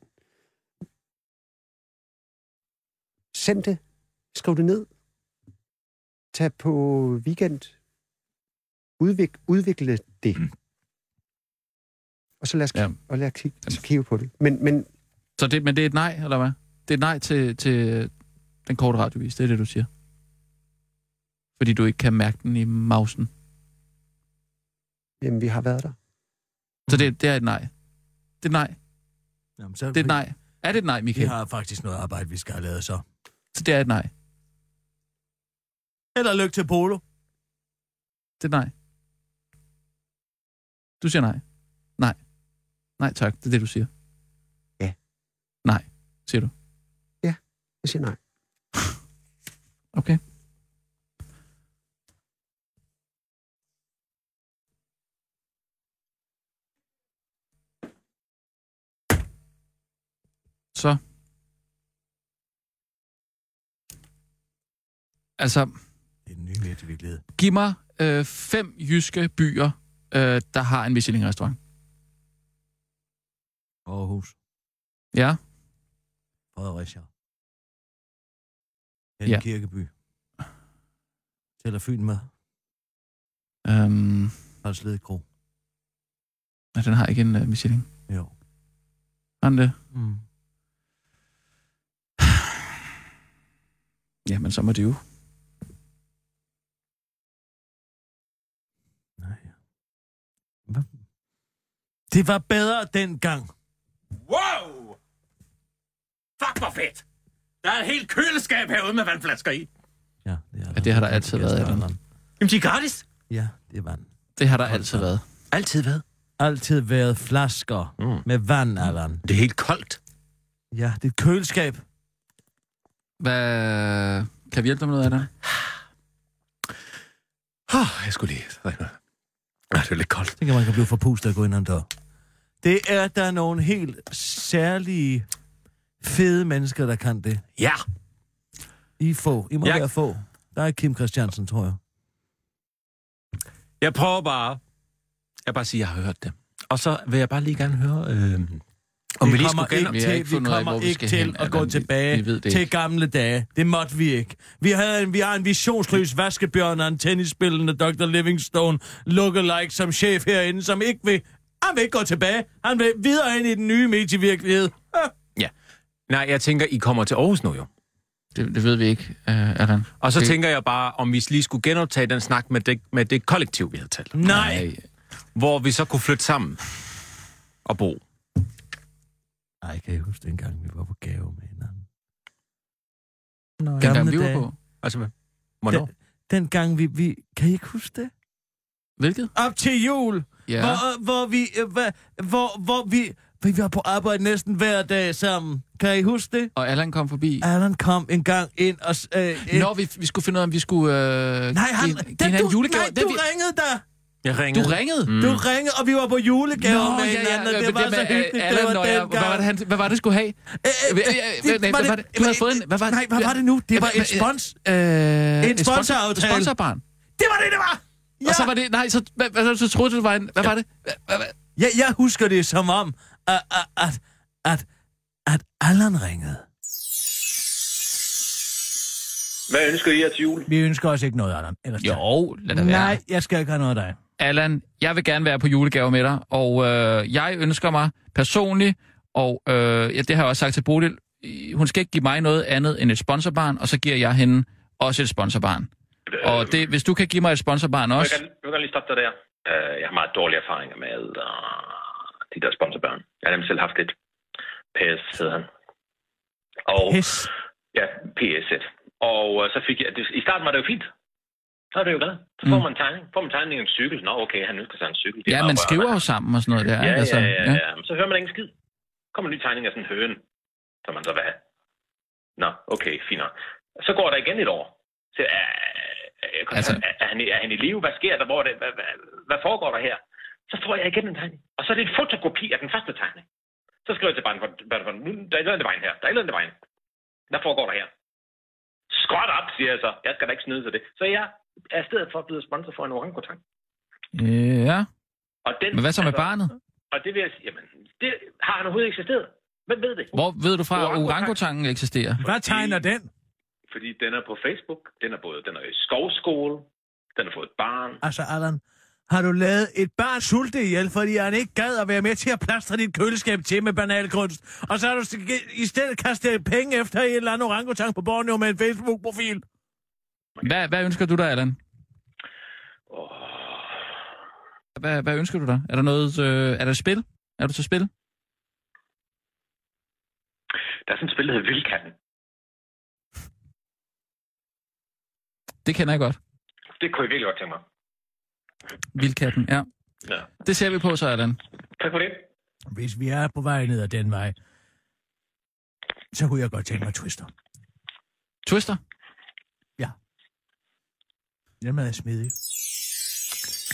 Speaker 1: Send det. Skriv det ned. Tag på weekend. Udvik, udvikle det. og så lad os,
Speaker 6: Ja.
Speaker 1: ja. og lad os kigge, kigge på det. Men, men
Speaker 6: Så det, men det er et nej, eller hvad? Det er et nej til, til den korte radiovis, det er det, du siger. Fordi du ikke kan mærke den i mausen.
Speaker 1: jamen, vi har været der.
Speaker 6: Så det, det er et nej. Det er et nej.
Speaker 5: Jamen, så,
Speaker 6: Det er et nej. Er det et nej,
Speaker 5: Vi
Speaker 6: Michael?
Speaker 5: har faktisk noget arbejde, vi skal have lavet så.
Speaker 6: Så det er et nej.
Speaker 5: Eller lykke til Polo.
Speaker 6: Det er et nej. Du siger nej. Nej. Nej, tak. Det er det, du siger.
Speaker 1: Ja.
Speaker 6: Nej, siger du.
Speaker 1: Jeg siger nej.
Speaker 6: Okay. Så. Altså,
Speaker 5: Det er den nye medievirkelighed.
Speaker 6: giv mig øh, fem jyske byer, øh, der har en Michelin-restaurant.
Speaker 5: Aarhus.
Speaker 6: Ja,
Speaker 5: Fredericia.
Speaker 6: Ja.
Speaker 5: Ja. Kirkeby. Tæller Fyn med.
Speaker 6: øhm,
Speaker 5: Hans Ledkro.
Speaker 6: nej, den har ikke en øh, Michelin.
Speaker 5: Jo.
Speaker 6: Har den det?
Speaker 5: Mm.
Speaker 6: Jamen, så må det jo.
Speaker 5: Nej. Hvad? Det var bedre dengang.
Speaker 4: Wow! Fuck, hvor fedt! Der er et helt køleskab herude med vandflasker i.
Speaker 5: Ja, det, er
Speaker 6: Ja, det har der altid været,
Speaker 5: Ja,
Speaker 6: eller?
Speaker 4: Jamen, de er gratis.
Speaker 5: Ja, det er vand.
Speaker 6: Det har der altid været.
Speaker 4: Altid hvad?
Speaker 5: Altid været flasker mm. med vand, Allan.
Speaker 4: Det er helt koldt.
Speaker 5: Ja, det er et køleskab.
Speaker 6: Hvad... Kan vi hjælpe dig med noget af det?
Speaker 4: Oh, jeg skulle lige... Nej, det er lidt koldt.
Speaker 5: Tænker man kan blive forpustet og gå ind dør. Det er, at der er nogle helt særlige fede mennesker, der kan det.
Speaker 4: Ja,
Speaker 5: I er få. I må
Speaker 4: Ja.
Speaker 5: være få. Der er Kim Christiansen, tror jeg.
Speaker 4: jeg prøver bare. Jeg bare siger, at jeg har hørt det. Og så vil jeg bare lige gerne høre... Øh, om vi lige skulle
Speaker 5: kommer
Speaker 4: gennem...
Speaker 6: Vi
Speaker 5: ikke
Speaker 6: har ikke
Speaker 5: til, vi
Speaker 6: fundet ud af,
Speaker 5: kommer
Speaker 6: hvor vi
Speaker 5: ikke
Speaker 6: skal
Speaker 5: til
Speaker 6: hen,
Speaker 5: at gå
Speaker 6: Allan. Vi-
Speaker 5: tilbage
Speaker 6: vi ved det
Speaker 5: til
Speaker 6: ikke.
Speaker 5: gamle dage. Det måtte vi ikke. Vi, havde en, vi har en visionsløs vaskebjørn og en tennisspillende Dr. Livingstone lookalike som chef herinde, som ikke vil... Han vil ikke gå tilbage. Han vil videre ind i den nye medievirkelighed.
Speaker 4: Nej, jeg tænker, I kommer til Aarhus nu jo.
Speaker 6: Det, det ved vi ikke, uh, Allan.
Speaker 4: Og så
Speaker 6: Det-
Speaker 4: okay. tænker jeg bare, om vi lige skulle genoptage den snak med det, med det kollektiv, vi havde talt. om.
Speaker 5: Nej.
Speaker 4: Hvor vi så kunne flytte sammen og bo.
Speaker 5: Nej, kan jeg huske dengang, vi var på gave med hinanden.
Speaker 6: Dengang
Speaker 5: Gamle
Speaker 6: vi var
Speaker 5: dage.
Speaker 6: på.
Speaker 4: Altså, hvad? hvornår?
Speaker 5: Den, dengang vi, vi... Kan I ikke huske det?
Speaker 6: Hvilket?
Speaker 5: Op til jul!
Speaker 6: Ja.
Speaker 5: Ja. Hvor, øh, hvor, vi, øh, hva, hvor, hvor vi, vi var på arbejde næsten hver dag sammen. Kan I huske det?
Speaker 6: Og Allan kom forbi.
Speaker 5: Allan kom en gang ind og... s- Øh, øh,
Speaker 6: Når vi, vi skulle finde ud af, om vi skulle... Øh,
Speaker 5: nej, han,
Speaker 6: give- give
Speaker 5: den,
Speaker 6: hinanden
Speaker 5: du,
Speaker 6: julegave.
Speaker 5: nej,
Speaker 6: Den
Speaker 5: du
Speaker 6: vi-
Speaker 5: ringede der.
Speaker 4: Jeg
Speaker 6: du
Speaker 4: ringede.
Speaker 6: ringede?
Speaker 5: Mm. Du ringede, og vi var på julegave
Speaker 6: Nå,
Speaker 5: med
Speaker 6: ja, ja,
Speaker 5: hinanden, og
Speaker 6: øh,
Speaker 5: det, var
Speaker 6: med,
Speaker 5: så
Speaker 6: øh,
Speaker 5: hyggeligt.
Speaker 6: Allan
Speaker 5: det var
Speaker 6: og jeg-
Speaker 5: dengang.
Speaker 6: Hvad var det, han, hvad var det, skulle have?
Speaker 5: Øh, øh,
Speaker 6: Hvad-
Speaker 5: øh,
Speaker 6: øh,
Speaker 5: det-
Speaker 6: nej,
Speaker 5: var
Speaker 6: hvad var
Speaker 5: det-
Speaker 6: det? Du havde
Speaker 5: øh,
Speaker 6: fået en- hvad var det?
Speaker 5: Nej, hvad var det nu? Det var
Speaker 6: Hvad-
Speaker 5: en
Speaker 6: hvad-
Speaker 5: spons.
Speaker 6: Øh,
Speaker 5: En sponsoraftale.
Speaker 6: En sponsorbarn.
Speaker 5: Det var det, det var!
Speaker 6: Ja. Og så var det... Nej, så, hvad, hvad, så troede du, det var en... Hvad var det? Hvad, hvad, hvad?
Speaker 5: Ja, jeg husker det som om, at, at, at, at, at Allan ringede.
Speaker 7: Hvad ønsker I jer til jul?
Speaker 5: Vi ønsker os ikke noget, Allan. Ellers
Speaker 6: Jo, lad da være.
Speaker 5: Nej, jeg skal ikke have noget af dig.
Speaker 6: Allan, jeg vil gerne være på julegave med dig, og øh, jeg ønsker mig personligt, og øh, ja, det har jeg også sagt til Bodil, øh, hun skal ikke give mig noget andet end et sponsorbarn, og så giver jeg hende også et sponsorbarn. Og det, hvis du kan give mig et sponsorbarn
Speaker 7: Jeg
Speaker 6: også,
Speaker 7: kan, jeg kan lige stoppe dig der. Uh, jeg har meget dårlige erfaringer med uh, de der sponsorbørn. Jeg har nemlig selv haft et. PS hedder han. Og,
Speaker 5: Pis.
Speaker 7: Ja, PS1. Og uh, så fik jeg... Det, I starten var det jo fint. Så er det jo glad. Så får
Speaker 6: Mm.
Speaker 7: man en tegning. Får man en tegning af en cykel. Nå, okay, han ønsker sig en cykel. Det er
Speaker 6: ja,
Speaker 7: meget
Speaker 6: man
Speaker 7: rørende.
Speaker 6: skriver jo sammen og sådan noget der.
Speaker 7: Ja,
Speaker 6: ikke?
Speaker 7: ja,
Speaker 6: altså,
Speaker 7: ja, ja. ja. Men Så hører man ingen skid. Kommer en ny tegning af sådan en høne, som man så vil have. Nå, okay, fint nok. Så går der igen et år. Så, er, er,
Speaker 6: Altså-
Speaker 7: altså... er, er, han, i- er han i live? Hvad sker der? Hvor er det? Hvad, hvad, hvad foregår der her? Så får jeg igen en tegning. Og så er det en fotokopi af den første tegning. Så skriver jeg til barnet, barnet, barnet, nu, der er et eller andet i vejen her. Der er et eller andet i vejen. Hvad foregår der her? Skråt op, siger jeg så. Jeg skal da ikke snyde til det. Så jeg er i stedet for blevet sponsor for en orangutang.
Speaker 6: ja.
Speaker 7: Og den, altså,
Speaker 6: Men hvad så med barnet?
Speaker 7: og det vil jeg sige, jamen, det har han overhovedet eksisteret. Hvem ved det?
Speaker 6: Hvor ved du fra, at
Speaker 7: Orangutang.
Speaker 6: orangutangen eksisterer?
Speaker 5: Hvad tegner den?
Speaker 7: Fordi den er på Facebook, den er både den er i skovskole, den har fået et barn.
Speaker 5: Altså, Allan, har du lavet et barn sulte ihjel, fordi han ikke gad at være med til at plastre dit køleskab til med banalkunst. Og så har du sk- i stedet kastet penge efter en eller anden orangutang på Borneo med en Facebook-profil.
Speaker 6: Hvad, hvad ønsker du dig, Allan?
Speaker 7: Åh,
Speaker 6: Hvad, hvad ønsker du dig? Er der noget... Øh, er der et spil? Er du til spil?
Speaker 7: der er sådan et spil, der hedder Vildkatten.
Speaker 6: Det kender jeg godt.
Speaker 7: Det kunne jeg virkelig godt tænke mig.
Speaker 6: Vildkatten, ja.
Speaker 7: Ja.
Speaker 6: Det ser vi på så, Allan.
Speaker 7: Tak for det.
Speaker 5: Hvis vi er på vej ned ad den vej, så kunne jeg godt tænke mig Twister.
Speaker 6: Twister?
Speaker 5: Den er smidig.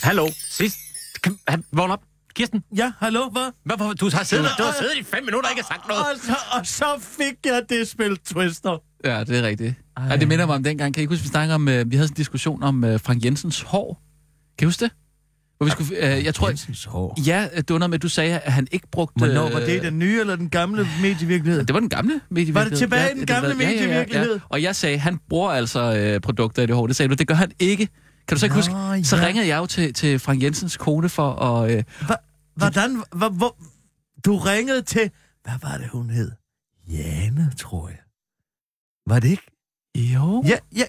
Speaker 9: Hallo, sidst. Kan, han, vågn op. Kirsten,
Speaker 5: Ja, hallo, hvad?
Speaker 9: hvorfor, du har siddet,
Speaker 5: Nå,
Speaker 9: du har siddet i fem minutter og ikke har sagt noget.
Speaker 5: Og så, og så fik jeg det spil Twister.
Speaker 6: Ja, det er rigtigt. Ej. Og det minder mig om dengang. Kan I ikke huske, vi snakkede om... Øh, vi havde sådan en diskussion om øh, Frank Jensens hår. Kan I huske det? Hvor vi skulle, øh, jeg tror...
Speaker 5: Jensens hår.
Speaker 6: Ja, øh, det var noget med, at du sagde, at han ikke brugte...
Speaker 5: Hvornår var
Speaker 6: øh,
Speaker 5: det den nye eller den gamle medievirkelighed?
Speaker 6: Det var den gamle medievirkelighed.
Speaker 5: Var det tilbage i den
Speaker 6: det
Speaker 5: gamle
Speaker 6: var-
Speaker 5: medievirkelighed?
Speaker 6: Og jeg sagde, han bruger altså øh, produkter i det hår. Det sagde du, det gør han ikke. Kan du så ikke
Speaker 5: Nå,
Speaker 6: huske? Så
Speaker 5: ja.
Speaker 6: ringede jeg jo til, til Frank Jensens kone for at... Øh,
Speaker 5: Hvordan, hvor, hvor, du ringede til, hvad var det, hun hed? Jane, tror jeg. Var det ikke?
Speaker 6: jo,
Speaker 5: Ja, ja.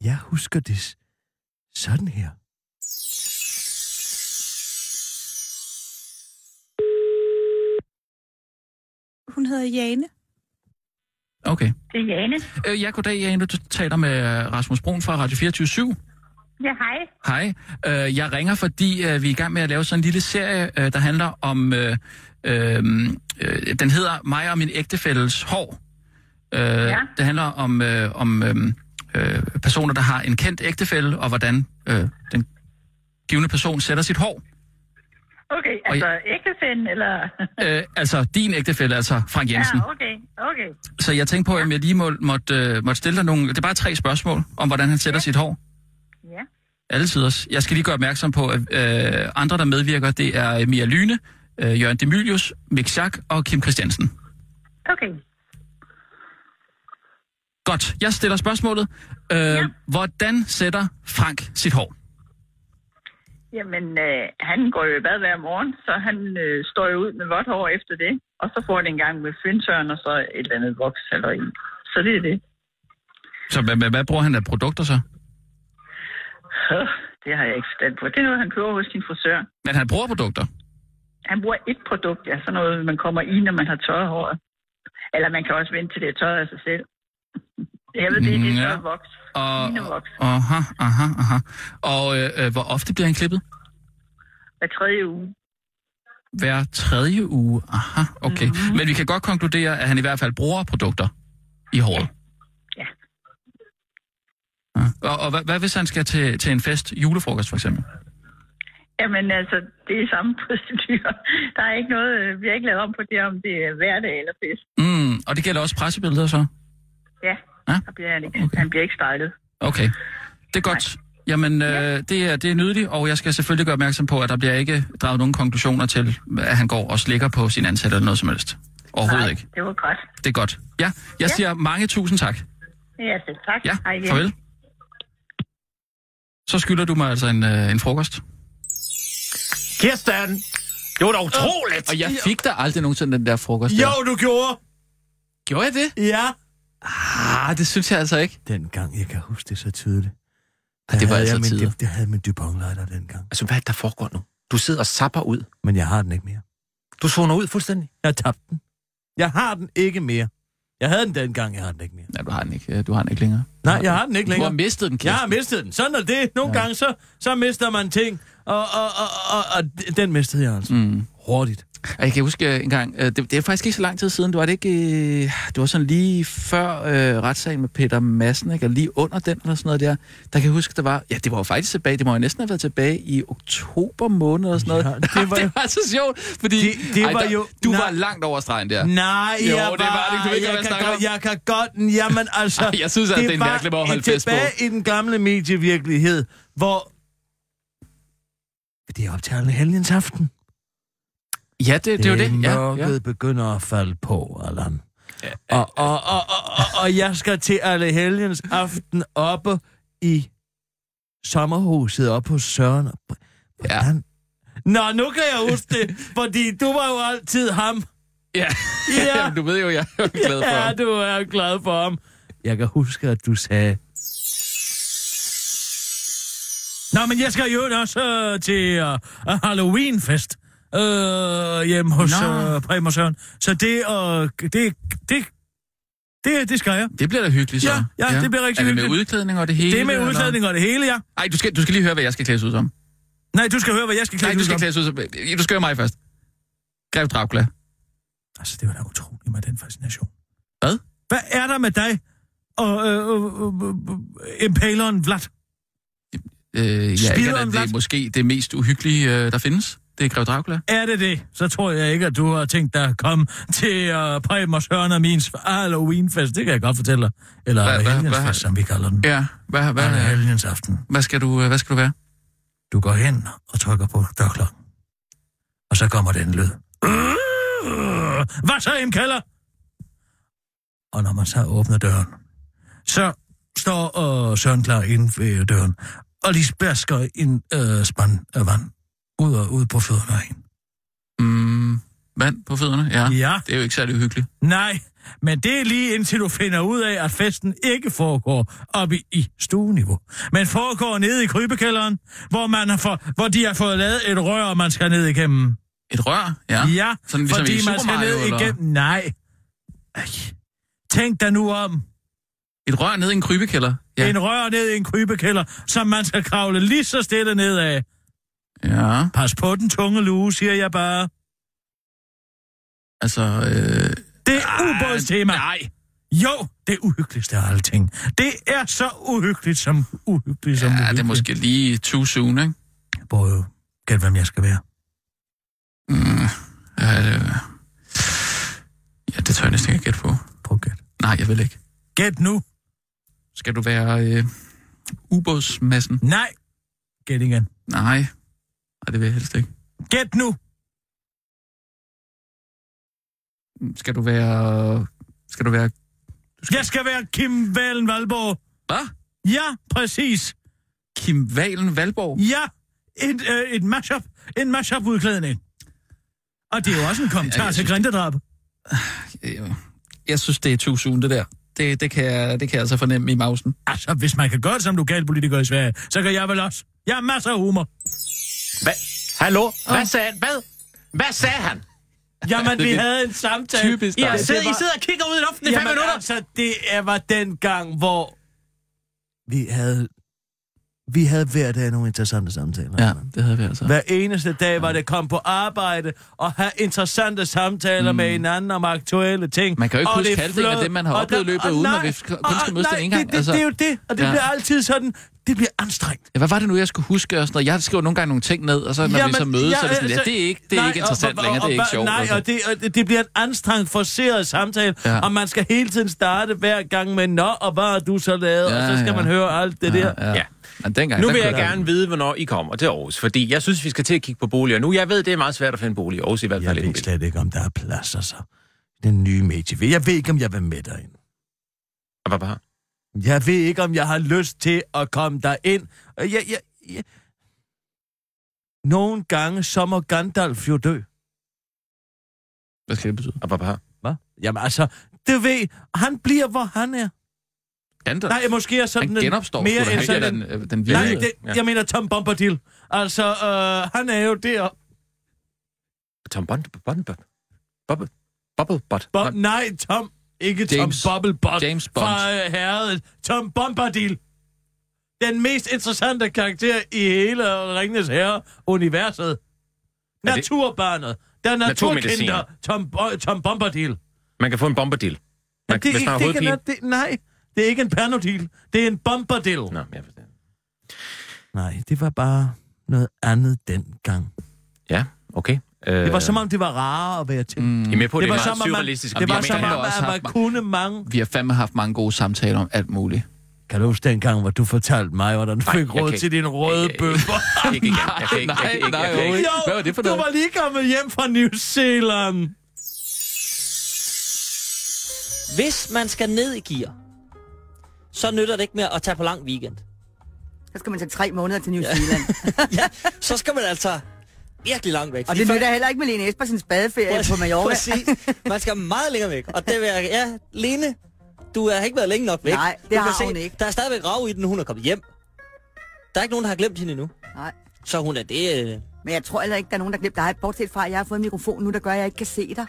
Speaker 5: Jeg husker det s- sådan her.
Speaker 10: Hun hedder Jane.
Speaker 6: okay.
Speaker 10: Det er Jane.
Speaker 6: Øh, ja, goddag, Jane. Du taler med øh, Rasmus Brun fra Radio 24 /7.
Speaker 10: Ja, hej.
Speaker 6: Hej. Øh, jeg ringer, fordi øh, vi er i gang med at lave sådan en lille serie, øh, der handler om... Øh, øh, øh, den hedder Mig og min ægtefælles hår. Øh, ja. Det handler om, øh, om øh, øh, personer, der har en kendt ægtefælle, og hvordan øh, den givende person sætter sit hår.
Speaker 10: Okay, altså ægtefænden, eller...
Speaker 6: Øh, altså din ægtefælle, altså Frank Jensen.
Speaker 10: Ja, okay, okay.
Speaker 6: Så jeg tænkte på, om jeg lige må, måtte, øh, måtte stille dig nogle... Det er bare tre spørgsmål om, hvordan han sætter ja. sit hår.
Speaker 10: Ja.
Speaker 6: Altid også. Jeg skal lige gøre opmærksom på, at øh, andre, der medvirker, det er øh, Mia Lyne, øh, Jørgen Demilius, Mick Schack og Kim Christiansen.
Speaker 10: Okay.
Speaker 6: Godt, jeg stiller spørgsmålet. Øh, ja. Hvordan sætter Frank sit hår?
Speaker 10: Jamen, øh, han går jo i bad hver morgen, så han øh, står jo ud med vådt hår efter det. Og så får han en gang med fyndtørn og så et eller andet voks eller en. Så det er det.
Speaker 6: Så hvad, hvad, hvad bruger han af produkter så?
Speaker 10: Øh, Det har jeg ikke forstand på. Det er noget, han køber hos sin frisør.
Speaker 6: Men han bruger produkter.
Speaker 10: Han bruger et produkt, ja, sådan noget, man kommer i, når man har tørret håret. Eller man kan også vente til det er tørret af sig selv. Jeg ved, det er det
Speaker 6: Mm, Ja.
Speaker 10: tørre voks.
Speaker 6: Og,
Speaker 10: Linevoks.
Speaker 6: aha, aha, aha. Og øh, øh, hvor ofte bliver han klippet?
Speaker 10: Hver tredje uge.
Speaker 6: Hver tredje uge. Aha, okay.
Speaker 10: Mhm.
Speaker 6: Mm. Men vi kan godt konkludere, at han i hvert fald bruger produkter i håret.
Speaker 10: Ja.
Speaker 6: ja. Og, og hvad, hvad hvis han skal til, til en fest, julefrokost for eksempel?
Speaker 10: Jamen altså, det er samme procedur. Der er ikke noget, øh, vi har ikke lavet om på det, om det er hverdag eller fest.
Speaker 6: Mm, og det gælder også pressebilleder så?
Speaker 10: Ja,
Speaker 6: Ja?
Speaker 10: der bliver han ikke.
Speaker 6: Okay.
Speaker 10: Han bliver ikke stylet.
Speaker 6: Okay, det er godt. Jamen, øh, det, er, det er nydeligt, og jeg skal selvfølgelig gøre opmærksom på, at der bliver ikke draget nogen konklusioner til, at han går og slikker på sin ansatte eller noget som helst. Overhovedet
Speaker 10: Nej,
Speaker 6: ikke.
Speaker 10: det var godt.
Speaker 6: Det er godt. Ja, jeg siger mange tusind tak.
Speaker 10: Ja, selv tak.
Speaker 6: Ja,
Speaker 10: Hej igen.
Speaker 6: farvel. Så skylder du mig altså en, øh, en frokost.
Speaker 9: Kirsten, det var da utroligt.
Speaker 6: Og jeg fik da aldrig nogensinde den der frokost.
Speaker 5: Jo, du gjorde!
Speaker 6: Gjorde jeg det?
Speaker 5: Ja!
Speaker 6: Ah, det synes jeg altså ikke.
Speaker 5: Dengang, jeg kan huske det så tydeligt.
Speaker 6: var
Speaker 5: Der havde
Speaker 6: altså
Speaker 5: jeg min,
Speaker 6: tider.
Speaker 5: Det, det havde min Dupont-lighter dengang.
Speaker 9: Altså, hvad er det, der foregår nu? Du sidder og sapper ud.
Speaker 5: Men jeg har den ikke mere.
Speaker 9: Du zoner ud fuldstændig.
Speaker 5: Jeg tabte den. Jeg har den ikke mere. Jeg havde den dengang, jeg har den ikke mere.
Speaker 6: Ja, du har den ikke, øh, du har den ikke længere.
Speaker 5: Nej, jeg har den ikke
Speaker 6: Du har
Speaker 5: længere.
Speaker 6: mistet den,
Speaker 5: Jeg
Speaker 6: Kirsten.
Speaker 5: har mistet den. Sådan er det. Nogle ja. gange, så, så mister man ting. Og, og, og, og, og d- den mistede jeg altså.
Speaker 6: Mm.
Speaker 5: Hurtigt.
Speaker 6: Og Jeg kan huske øh, en gang, øh, det, det er faktisk ikke så lang tid siden, du var det ikke, øh, det var sådan lige før øh, retssagen med Peter Madsen, ikke? og lige under den eller sådan noget der, der kan jeg huske, der var, ja det var jo faktisk tilbage, det må jo næsten have været tilbage i oktober måned eller sådan
Speaker 5: Ja,
Speaker 6: noget.
Speaker 5: det var jo-
Speaker 6: det var så sjovt, fordi
Speaker 5: Det- det var
Speaker 6: der,
Speaker 5: jo-
Speaker 6: du
Speaker 5: nej.
Speaker 6: var langt over stregen der.
Speaker 5: Nej,
Speaker 6: Jo,
Speaker 5: jeg
Speaker 6: det var det. Du ved ikke, hvad
Speaker 5: jeg,
Speaker 6: jeg
Speaker 5: kan
Speaker 6: snakker
Speaker 5: godt,
Speaker 6: om.
Speaker 5: jeg kan godt den. Jamen altså...
Speaker 6: Ej, jeg synes, at det er en
Speaker 5: var
Speaker 6: mærkelig måde at holde fest på.
Speaker 5: tilbage i den gamle medievirkelighed, hvor... Det er optagende helgens aften.
Speaker 6: Ja, det, det er jo det. Ja,
Speaker 5: Mørket
Speaker 6: ja.
Speaker 5: begynder at falde på, Allan. Og, og, og, og, og, og jeg skal til alle helgens aften oppe i sommerhuset op hos Søren. Og... Br- Hvordan? Ja. Nå, nu kan jeg huske det, fordi du var jo altid ham.
Speaker 6: Ja,
Speaker 5: Ja.
Speaker 6: Jamen, du ved jo, jeg er glad for
Speaker 5: Ja,
Speaker 6: ham.
Speaker 5: du er jo glad for ham. Jeg kan huske, at du sagde... Nå, men jeg skal jo også øh, til øh, Halloweenfest øh, hjemme hos
Speaker 6: Nå.
Speaker 5: øh, Prem og Søren. Så det, øh, det, det, det, det skal jeg.
Speaker 6: Det bliver da hyggeligt, så.
Speaker 5: Ja, ja, det bliver rigtig
Speaker 6: er det med
Speaker 5: hyggeligt.
Speaker 6: udklædning og det hele?
Speaker 5: Det er med
Speaker 6: eller?
Speaker 5: udklædning og det hele, ja.
Speaker 6: Ej, du skal, du skal lige høre, hvad jeg skal klædes ud som.
Speaker 5: Nej, du skal høre, hvad jeg skal
Speaker 6: Nej,
Speaker 5: klæde
Speaker 6: du
Speaker 5: ud
Speaker 6: skal
Speaker 5: som.
Speaker 6: klædes ud som... Du skal høre mig først. Grev Dracula.
Speaker 5: Altså, det var da utroligt med den fascination.
Speaker 6: Hvad?
Speaker 5: Hvad er der med dig og øh, øh, øh, øh, Impaleren Vlad?
Speaker 6: Øh, ja, ikke,
Speaker 5: Spilderen
Speaker 6: at det er
Speaker 5: Vlad.
Speaker 6: måske det mest uhyggelige, øh, der findes. Det er Grev Dracula.
Speaker 5: Er det det, så tror jeg ikke, at du har tænkt dig at komme til uh, Preben og Søren og min Halloweenfest. Det kan jeg godt fortælle dig. Eller
Speaker 6: Hvad- hvad- hvad-
Speaker 5: helgenfest, som vi kalder den.
Speaker 6: Ja, hvad, hvad,
Speaker 5: Eller
Speaker 6: hvad,
Speaker 5: helgens aften.
Speaker 6: hvad, skal, du, øh, hvad skal du være?
Speaker 5: Du går hen og trykker på dørklokken. Og så kommer den lyd. Hvad så, Im Keller? Og når man så åbner døren, så står øh, Søren klar inde ved døren, og lige spærsker en øh, spand af vand ud, og, ud på fødderne af hende.
Speaker 6: Mm, vand på fødderne? Ja.
Speaker 5: Ja.
Speaker 6: Ah, Det er jo ikke særlig uhyggeligt.
Speaker 5: Nej, men det er lige indtil du finder ud af, at festen ikke foregår oppe i- i stueniveau, men foregår nede i krybekælderen, hvor, man har for, hvor de har fået lavet et rør, man skal ned igennem.
Speaker 6: Et rør? Ja.
Speaker 5: Ja,
Speaker 6: Sådan ligesom
Speaker 5: fordi
Speaker 6: i
Speaker 5: man
Speaker 6: Super
Speaker 5: skal
Speaker 6: Mario,
Speaker 5: ned
Speaker 6: eller?
Speaker 5: igennem... Nej. Ej. Tænk dig nu om
Speaker 6: Et rør ned i en krybekælder?
Speaker 5: ja.
Speaker 6: Ja.
Speaker 5: en rør ned i en krybekælder, som man skal kravle lige så stille nedad.
Speaker 6: ja.
Speaker 5: Pas på den tunge luge, siger jeg bare.
Speaker 6: Altså, øh,
Speaker 5: Det er ubådstema. Nej. Jo, det uhyggeligste af alting. Det er så uhyggeligt som uhyggeligt som
Speaker 6: ja,
Speaker 5: uhyggeligt.
Speaker 6: det er måske lige too soon, ikke?
Speaker 5: Prøv gæt, hvem jeg skal være.
Speaker 6: Mm, ja, det, ja, det tør jeg næsten ikke at gætte på.
Speaker 5: Prøv gæt.
Speaker 6: Nej, jeg vil ikke.
Speaker 5: Gæt nu.
Speaker 6: Skal du være øh, ubådsmassen?
Speaker 5: Nej. Gæt igen.
Speaker 6: Nej. Nej, det vil jeg helst ikke.
Speaker 5: Gæt nu.
Speaker 6: Skal du være... Skal du være...
Speaker 5: Jeg skal være Kim Valen Valborg.
Speaker 6: Hvad?
Speaker 5: Ja, præcis.
Speaker 6: Kim Valen Valborg?
Speaker 5: Ja. Et, øh, et mashup. En mashup udklædning. Og det er jo også en kommentar
Speaker 6: Ja, jeg
Speaker 5: til
Speaker 6: synes,
Speaker 5: grindedrab.
Speaker 6: Jeg, jeg synes, det er too soon, det der. Det, det, kan jeg, det kan jeg altså fornemme i mausen.
Speaker 5: Altså, hvis man kan gøre det som lokalpolitiker i Sverige, så kan jeg vel også. Jeg har masser af humor.
Speaker 9: Hvad? Hallo? Hvad sagde han? Hvad? Hvad sagde han?
Speaker 5: Jamen,
Speaker 6: det
Speaker 5: vi
Speaker 6: er
Speaker 5: havde en samtale.
Speaker 6: typisk
Speaker 5: Ja,
Speaker 6: dig.
Speaker 5: det
Speaker 9: Sid, I
Speaker 5: var-
Speaker 9: sidder og kigger ud i luften i fem
Speaker 5: Jamen,
Speaker 9: minutter.
Speaker 5: altså, det er- var den gang, hvor vi havde, vi havde hver dag nogle interessante samtaler.
Speaker 6: Ja, det havde vi altså.
Speaker 5: Hver eneste dag var det kom på arbejde og have interessante samtaler mm. med hinanden om aktuelle ting.
Speaker 6: Man kan jo ikke
Speaker 5: Og
Speaker 6: huske
Speaker 5: det er
Speaker 6: halvdelen af
Speaker 5: flot,
Speaker 6: det, man har
Speaker 5: og
Speaker 6: oplevet i
Speaker 5: der-
Speaker 6: løbet af
Speaker 5: og
Speaker 6: ugen,
Speaker 5: nej,
Speaker 6: og vi kun
Speaker 5: og
Speaker 6: skal mødes
Speaker 5: nej,
Speaker 6: den ene gang,
Speaker 5: Det, det,
Speaker 6: altså.
Speaker 5: det er jo det, og det
Speaker 6: Ja.
Speaker 5: bliver altid sådan, det bliver anstrengt.
Speaker 6: Ja, hvad var det nu, jeg skulle huske? Og sådan noget? Jeg skriver nogle gange nogle ting ned, og så når vi så mødes, så er det
Speaker 2: altså,
Speaker 6: sådan, ja, altså, det er ikke, det er
Speaker 5: nej,
Speaker 6: ikke interessant længere, det er ikke
Speaker 5: hvad-
Speaker 6: sjovt.
Speaker 5: Nej,
Speaker 6: altså.
Speaker 5: og det, og det- det bliver en anstrengt, forceret samtale,
Speaker 6: Ja.
Speaker 5: ja. og man skal hele tiden starte hver gang med, nå, og hvad har du så lavet, ja, og
Speaker 6: Ja,
Speaker 5: så skal
Speaker 6: ja.
Speaker 5: man høre alt det der.
Speaker 6: Ja, ja.
Speaker 9: Ja.
Speaker 6: Men dengang,
Speaker 9: Nu
Speaker 6: der
Speaker 9: vil jeg
Speaker 6: kunne
Speaker 9: gerne vide, hvornår I kommer til Aarhus, fordi jeg synes, vi skal til at kigge på boliger nu. Jeg ved, det er meget svært at finde boliger i Aarhus i hvert fald.
Speaker 2: Jeg
Speaker 9: ikke en
Speaker 2: ved
Speaker 9: bil.
Speaker 2: slet ikke, om der er plads, altså. Den nye medie. Jeg ved ikke, om jeg vil med dig ind.
Speaker 9: Hvad var det?
Speaker 2: Jeg ved ikke, om jeg har lyst til at komme der ind. Jeg, jeg, jeg... Nogle gange, så må Gandalf jo dø.
Speaker 6: Hvad skal det betyde?
Speaker 9: Hvad var det?
Speaker 2: Hvad? Jamen altså, det ved, han bliver, hvor han er.
Speaker 6: Gandalf?
Speaker 5: Nej, måske er sådan
Speaker 6: han
Speaker 5: en-
Speaker 6: genopstår sgu
Speaker 5: mere
Speaker 6: da
Speaker 5: end
Speaker 6: ikke
Speaker 5: sådan
Speaker 6: den,
Speaker 5: en-
Speaker 6: øh, den
Speaker 5: Nej,
Speaker 6: vilde.
Speaker 5: det, jeg mener Tom Bombadil. Altså, øh, han er jo der.
Speaker 9: Tom Bond... Bond... Bubble... Bubble... Bot.
Speaker 5: Bo- nej, Tom. Ikke
Speaker 6: James-
Speaker 5: Tom Bubblebot.
Speaker 6: James Bond.
Speaker 5: Fra øh, herredet. Tom Bombadil. Den mest interessante karakter i hele Ringenes Herre-universet.
Speaker 9: det-
Speaker 5: Naturbarnet. Den naturkinder,
Speaker 9: Naturmediciner.
Speaker 5: Tom, Bo- Tom Bombadil.
Speaker 9: Man kan få en bomberdil. Man,
Speaker 5: Men
Speaker 9: det,
Speaker 5: det,
Speaker 9: hvis
Speaker 5: er
Speaker 9: man
Speaker 5: ikke-
Speaker 9: har
Speaker 5: det,
Speaker 9: hovedpine...
Speaker 5: kan, det, nej, det er ikke en panodil. Det er en bombadil.
Speaker 9: Nå, jeg forstår.
Speaker 2: Nej, det var bare noget andet dengang.
Speaker 9: Ja, okay. Øh,
Speaker 5: Det var som om, det var rarere at være til. Mm.
Speaker 9: I er med på, det, det er
Speaker 5: Det var
Speaker 9: meget
Speaker 5: som om, man,
Speaker 9: surrealistisk.
Speaker 5: det
Speaker 9: vi
Speaker 5: var
Speaker 9: er med
Speaker 5: som
Speaker 9: her.
Speaker 5: om,
Speaker 6: også
Speaker 5: at
Speaker 6: haft
Speaker 5: man
Speaker 6: mange-
Speaker 5: kunne mange.
Speaker 6: Vi har fandme haft mange gode samtaler om alt muligt.
Speaker 2: Kan du huske dengang, hvor du fortalte mig, hvordan du
Speaker 9: Nej,
Speaker 2: fik
Speaker 9: jeg
Speaker 2: råd
Speaker 9: kan
Speaker 2: til
Speaker 9: ikke.
Speaker 2: din røde
Speaker 9: Jeg- jeg-
Speaker 2: bøffer?
Speaker 9: Jeg kan ikke igen. Jeg kan ikke- jeg kan ikke- jeg kan ikke.
Speaker 6: overhovedet ikke. Hvad var det for
Speaker 5: du
Speaker 6: noget?
Speaker 5: var lige kommet hjem fra New Zealand.
Speaker 11: Hvis man skal ned i gear, så nytter det ikke med at tage på lang weekend. så skal man tage tre måneder til New Zealand.
Speaker 12: ja, så skal man altså virkelig langt væk.
Speaker 11: Og det nytter heller ikke med Lene Espersens badeferie på Mallorca.
Speaker 12: Præcis. Man skal meget længere væk. Og det vil jeg... Ja, Lene, du har ikke været længe nok væk.
Speaker 11: Nej, det
Speaker 12: du
Speaker 11: har
Speaker 12: kan
Speaker 11: hun ikke.
Speaker 12: Der er stadigvæk rav i den, hun er kommet hjem. Der er ikke nogen, der har glemt hende endnu.
Speaker 11: Nej.
Speaker 12: Så hun er det... Øh...
Speaker 11: Men jeg tror heller ikke, der er nogen, der glemte dig, bortset fra, at jeg har fået en mikrofon nu, der gør, at jeg ikke kan se dig.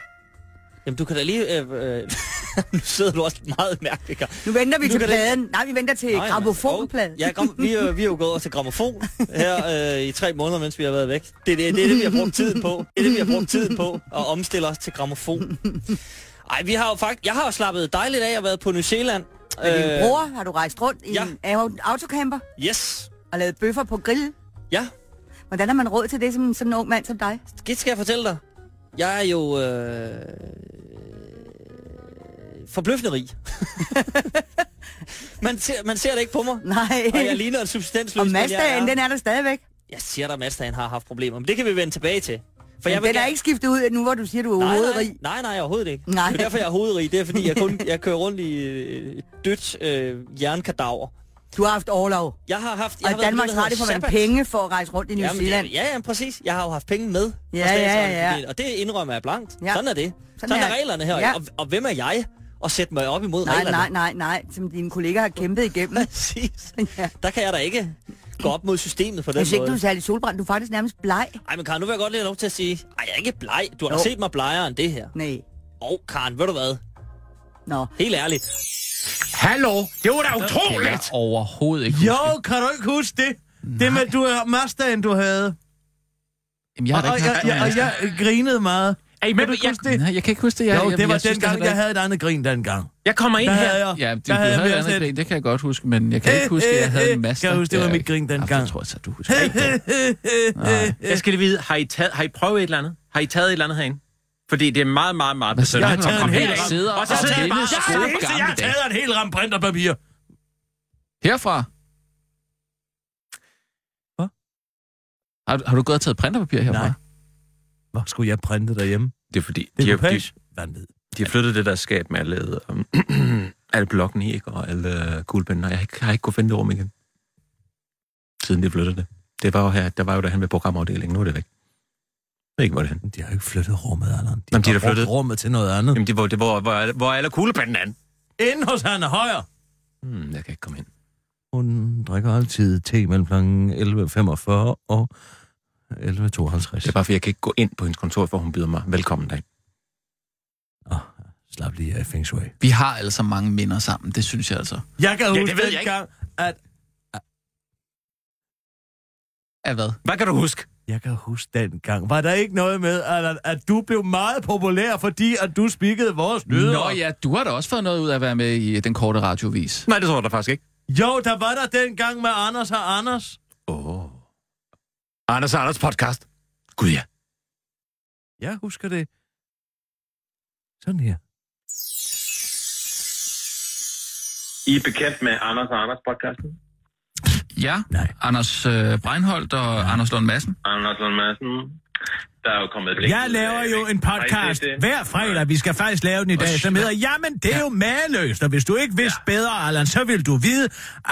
Speaker 12: Jamen, du kan da lige... Øh, øh... nu sidder du også meget mærkeligt. Kar.
Speaker 11: Nu venter vi nu til pladen. Det... Nej, vi venter til
Speaker 12: Nej,
Speaker 11: gramofonpladen.
Speaker 12: Ja, kom, vi, øh, vi er jo gået over til gramofon her øh, i tre måneder, mens vi har været væk. Det, er det, det er det, vi har brugt tiden på. Det er det, vi har brugt tiden på at omstille os til gramofon. Ej, vi har jo faktisk... Jeg har jo slappet dejligt af at været på New Zealand. Øh,
Speaker 11: Med din bror har du rejst rundt i ja. en au- autocamper
Speaker 12: Yes.
Speaker 11: og lavet bøffer på grill.
Speaker 12: Ja.
Speaker 11: Hvordan har man råd til det som sådan en ung mand som dig?
Speaker 12: Det skal jeg fortælle dig. Jeg er jo... Øh, forbløffende rig. man, ser, man ser det ikke på mig.
Speaker 11: Nej.
Speaker 12: Og jeg ligner en substansløs.
Speaker 11: Og
Speaker 12: men jeg
Speaker 11: Mazdaen, den er der stadigvæk.
Speaker 12: Jeg siger dig, at Mazdaen har haft problemer, men det kan vi vende tilbage til.
Speaker 11: For jeg
Speaker 12: vil
Speaker 11: den er
Speaker 12: gerne-
Speaker 11: ikke skiftet ud nu, hvor du siger, du er
Speaker 12: nej,
Speaker 11: hovedrig.
Speaker 12: nej, nej, nej, overhovedet ikke.
Speaker 11: Nej.
Speaker 12: Det er derfor, jeg er hovedrig. Det er, fordi jeg, kun, jeg kører rundt i øh, dødt øh, jernkadaver.
Speaker 11: Du har haft overlov.
Speaker 12: Jeg har haft... Jeg
Speaker 11: Og
Speaker 12: har
Speaker 11: i
Speaker 12: været
Speaker 11: Danmark
Speaker 12: med, der
Speaker 11: har det for
Speaker 12: hedder
Speaker 11: man
Speaker 12: Sabbat.
Speaker 11: penge for at rejse rundt i New
Speaker 12: Jamen,
Speaker 11: Zealand.
Speaker 12: Det, ja, ja, præcis. Jeg har jo haft penge med.
Speaker 11: Ja,
Speaker 12: fra
Speaker 11: ja, ja.
Speaker 12: statsradiofamilien, Og det indrømmer jeg blankt.
Speaker 11: Ja.
Speaker 12: Sådan er det.
Speaker 11: Sådan
Speaker 12: Sådan, Sådan er,
Speaker 11: er-
Speaker 12: reglerne her.
Speaker 11: ja.
Speaker 12: Og, og hvem er jeg at sætte mig op imod
Speaker 11: Nej,
Speaker 12: reglerne?
Speaker 11: nej, nej, nej, som dine kolleger har kæmpet igennem.
Speaker 12: Præcis.
Speaker 11: Ja.
Speaker 12: Der kan jeg da ikke gå op mod systemet på den
Speaker 11: Hvis ikke
Speaker 12: måde.
Speaker 11: du er særlig solbrændt, du er faktisk nærmest bleg.
Speaker 12: Ej, men Karen, nu vil jeg godt lige have lov til at sige, ej, jeg er ikke bleg. Du har
Speaker 11: Jo.
Speaker 12: da set mig blegere end det her.
Speaker 11: Nej.
Speaker 12: Og Karen, ved du hvad?
Speaker 11: Nå.
Speaker 12: Helt ærligt.
Speaker 9: Hallo, det var da
Speaker 6: Kan jeg
Speaker 9: utroligt!
Speaker 6: overhovedet ikke huske.
Speaker 5: Jo, kan du ikke huske det? Det med, du har Mazdaen, du havde.
Speaker 6: Jamen, jeg har
Speaker 5: og,
Speaker 6: da
Speaker 5: og,
Speaker 6: ikke haft
Speaker 5: jeg, jeg,
Speaker 6: nogen
Speaker 5: og jeg grinede meget.
Speaker 9: Er I med?
Speaker 5: Kan du ikke
Speaker 9: Jeg-
Speaker 5: huske det?
Speaker 6: Nej, jeg kan ikke huske det. Jeg,
Speaker 5: Jo,
Speaker 6: jamen,
Speaker 5: det var
Speaker 6: jeg synes,
Speaker 5: dengang,
Speaker 6: det
Speaker 5: jeg
Speaker 6: har været-
Speaker 5: havde et andet grin dengang.
Speaker 9: Jeg kommer ind
Speaker 5: Der
Speaker 9: her.
Speaker 5: havde jeg...
Speaker 6: Ja, det,
Speaker 5: der
Speaker 6: du havde,
Speaker 5: havde jeg
Speaker 6: havde
Speaker 5: mere
Speaker 6: andet
Speaker 5: sådan et-
Speaker 6: grin, det kan jeg godt huske, men jeg kan
Speaker 5: Øh,
Speaker 6: ikke huske, at jeg
Speaker 5: øh,
Speaker 6: havde en
Speaker 5: øh,
Speaker 6: masse.
Speaker 5: kan jeg huske, det var mit grin dengang?
Speaker 6: Det tror jeg så, du husker. ikke.
Speaker 9: Jeg skal lige vide, har I, taget, har I prøvet et eller andet? Har I taget et eller andet herinde? Fordi det er meget, meget, meget
Speaker 6: Hvad snakker
Speaker 9: besøgende.
Speaker 6: du om?
Speaker 9: Kom
Speaker 6: Her
Speaker 9: helt ind.
Speaker 6: sidder
Speaker 9: Og så
Speaker 6: og
Speaker 9: sidder jeg
Speaker 6: tæller
Speaker 9: bare...
Speaker 5: Jeg er den eneste, jeg har
Speaker 6: gamle dag.
Speaker 5: taget en hel ramme printerpapir.
Speaker 6: Herfra?
Speaker 5: Hvad?
Speaker 6: Har, du- har du gået og taget printerpapir herfra?
Speaker 5: Nej. Hvor skulle jeg printe derhjemme?
Speaker 9: Det er fordi,
Speaker 5: Det
Speaker 9: de
Speaker 5: er
Speaker 9: har, de,
Speaker 5: page. Vanvid.
Speaker 9: de har flyttet det der skab med alle, um, alle blokken i, ikke? og alle guldbænden, og jeg har ikke, har ikke kunnet finde det rum igen. Siden de flyttede det. Det var jo her, der var jo derhen ved programafdelingen, nu er det væk. Jeg ved ikke, hvor det er henne.
Speaker 5: De har jo ikke flyttet rummet, Allan.
Speaker 9: Jamen, de har
Speaker 5: har
Speaker 9: da flyttet-
Speaker 5: brugt rummet til noget andet.
Speaker 9: Jamen, det, hvor, det, hvor, hvor, er- hvor er alle kuglepanden an?
Speaker 5: Inden hos Hanne Højer.
Speaker 9: Hmm, jeg kan ikke komme ind.
Speaker 5: Hun drikker altid te mellem kl. 11.45 og 11.52.
Speaker 9: Det er bare, fordi jeg kan ikke gå ind på hendes kontor, for hun byder mig velkommen derind.
Speaker 5: Åh, slap lige af Feng Shui.
Speaker 6: Vi har altså mange minder sammen, det synes jeg altså.
Speaker 5: Jeg kan
Speaker 9: det
Speaker 5: huske
Speaker 9: ved jeg ikke.
Speaker 5: dengang, at...
Speaker 6: Af hvad?
Speaker 9: Hvad kan du huske?
Speaker 5: Jeg kan huske dengang. Var der ikke noget med, at, at du blev meget populær, fordi at du spikkede vores nyheder?
Speaker 6: Nå ja, du har da også fået noget ud af at være med i den korte radiovis.
Speaker 9: Nej, det tror jeg da faktisk ikke.
Speaker 5: Jo, der var der dengang med Anders og Anders.
Speaker 9: Åh. Oh. Anders og Anders podcast. Gud ja.
Speaker 5: Jeg husker det. Sådan her.
Speaker 7: I er bekendt med Anders og Anders podcasten?
Speaker 6: Ja,
Speaker 5: Nej.
Speaker 6: Anders øh, Breinholt og Anders Lund Madsen.
Speaker 7: Anders Lund Madsen, der er jo kommet et link
Speaker 5: Jeg
Speaker 7: ud
Speaker 5: laver
Speaker 7: af- Mm.
Speaker 5: jo en
Speaker 7: Har I set
Speaker 5: podcast
Speaker 7: det?
Speaker 5: hver fredag. Vi skal faktisk lave den i dag, som hedder, jamen, det er jo mageløst, og hvis du ikke vidste bedre, Allan, så vil du vide,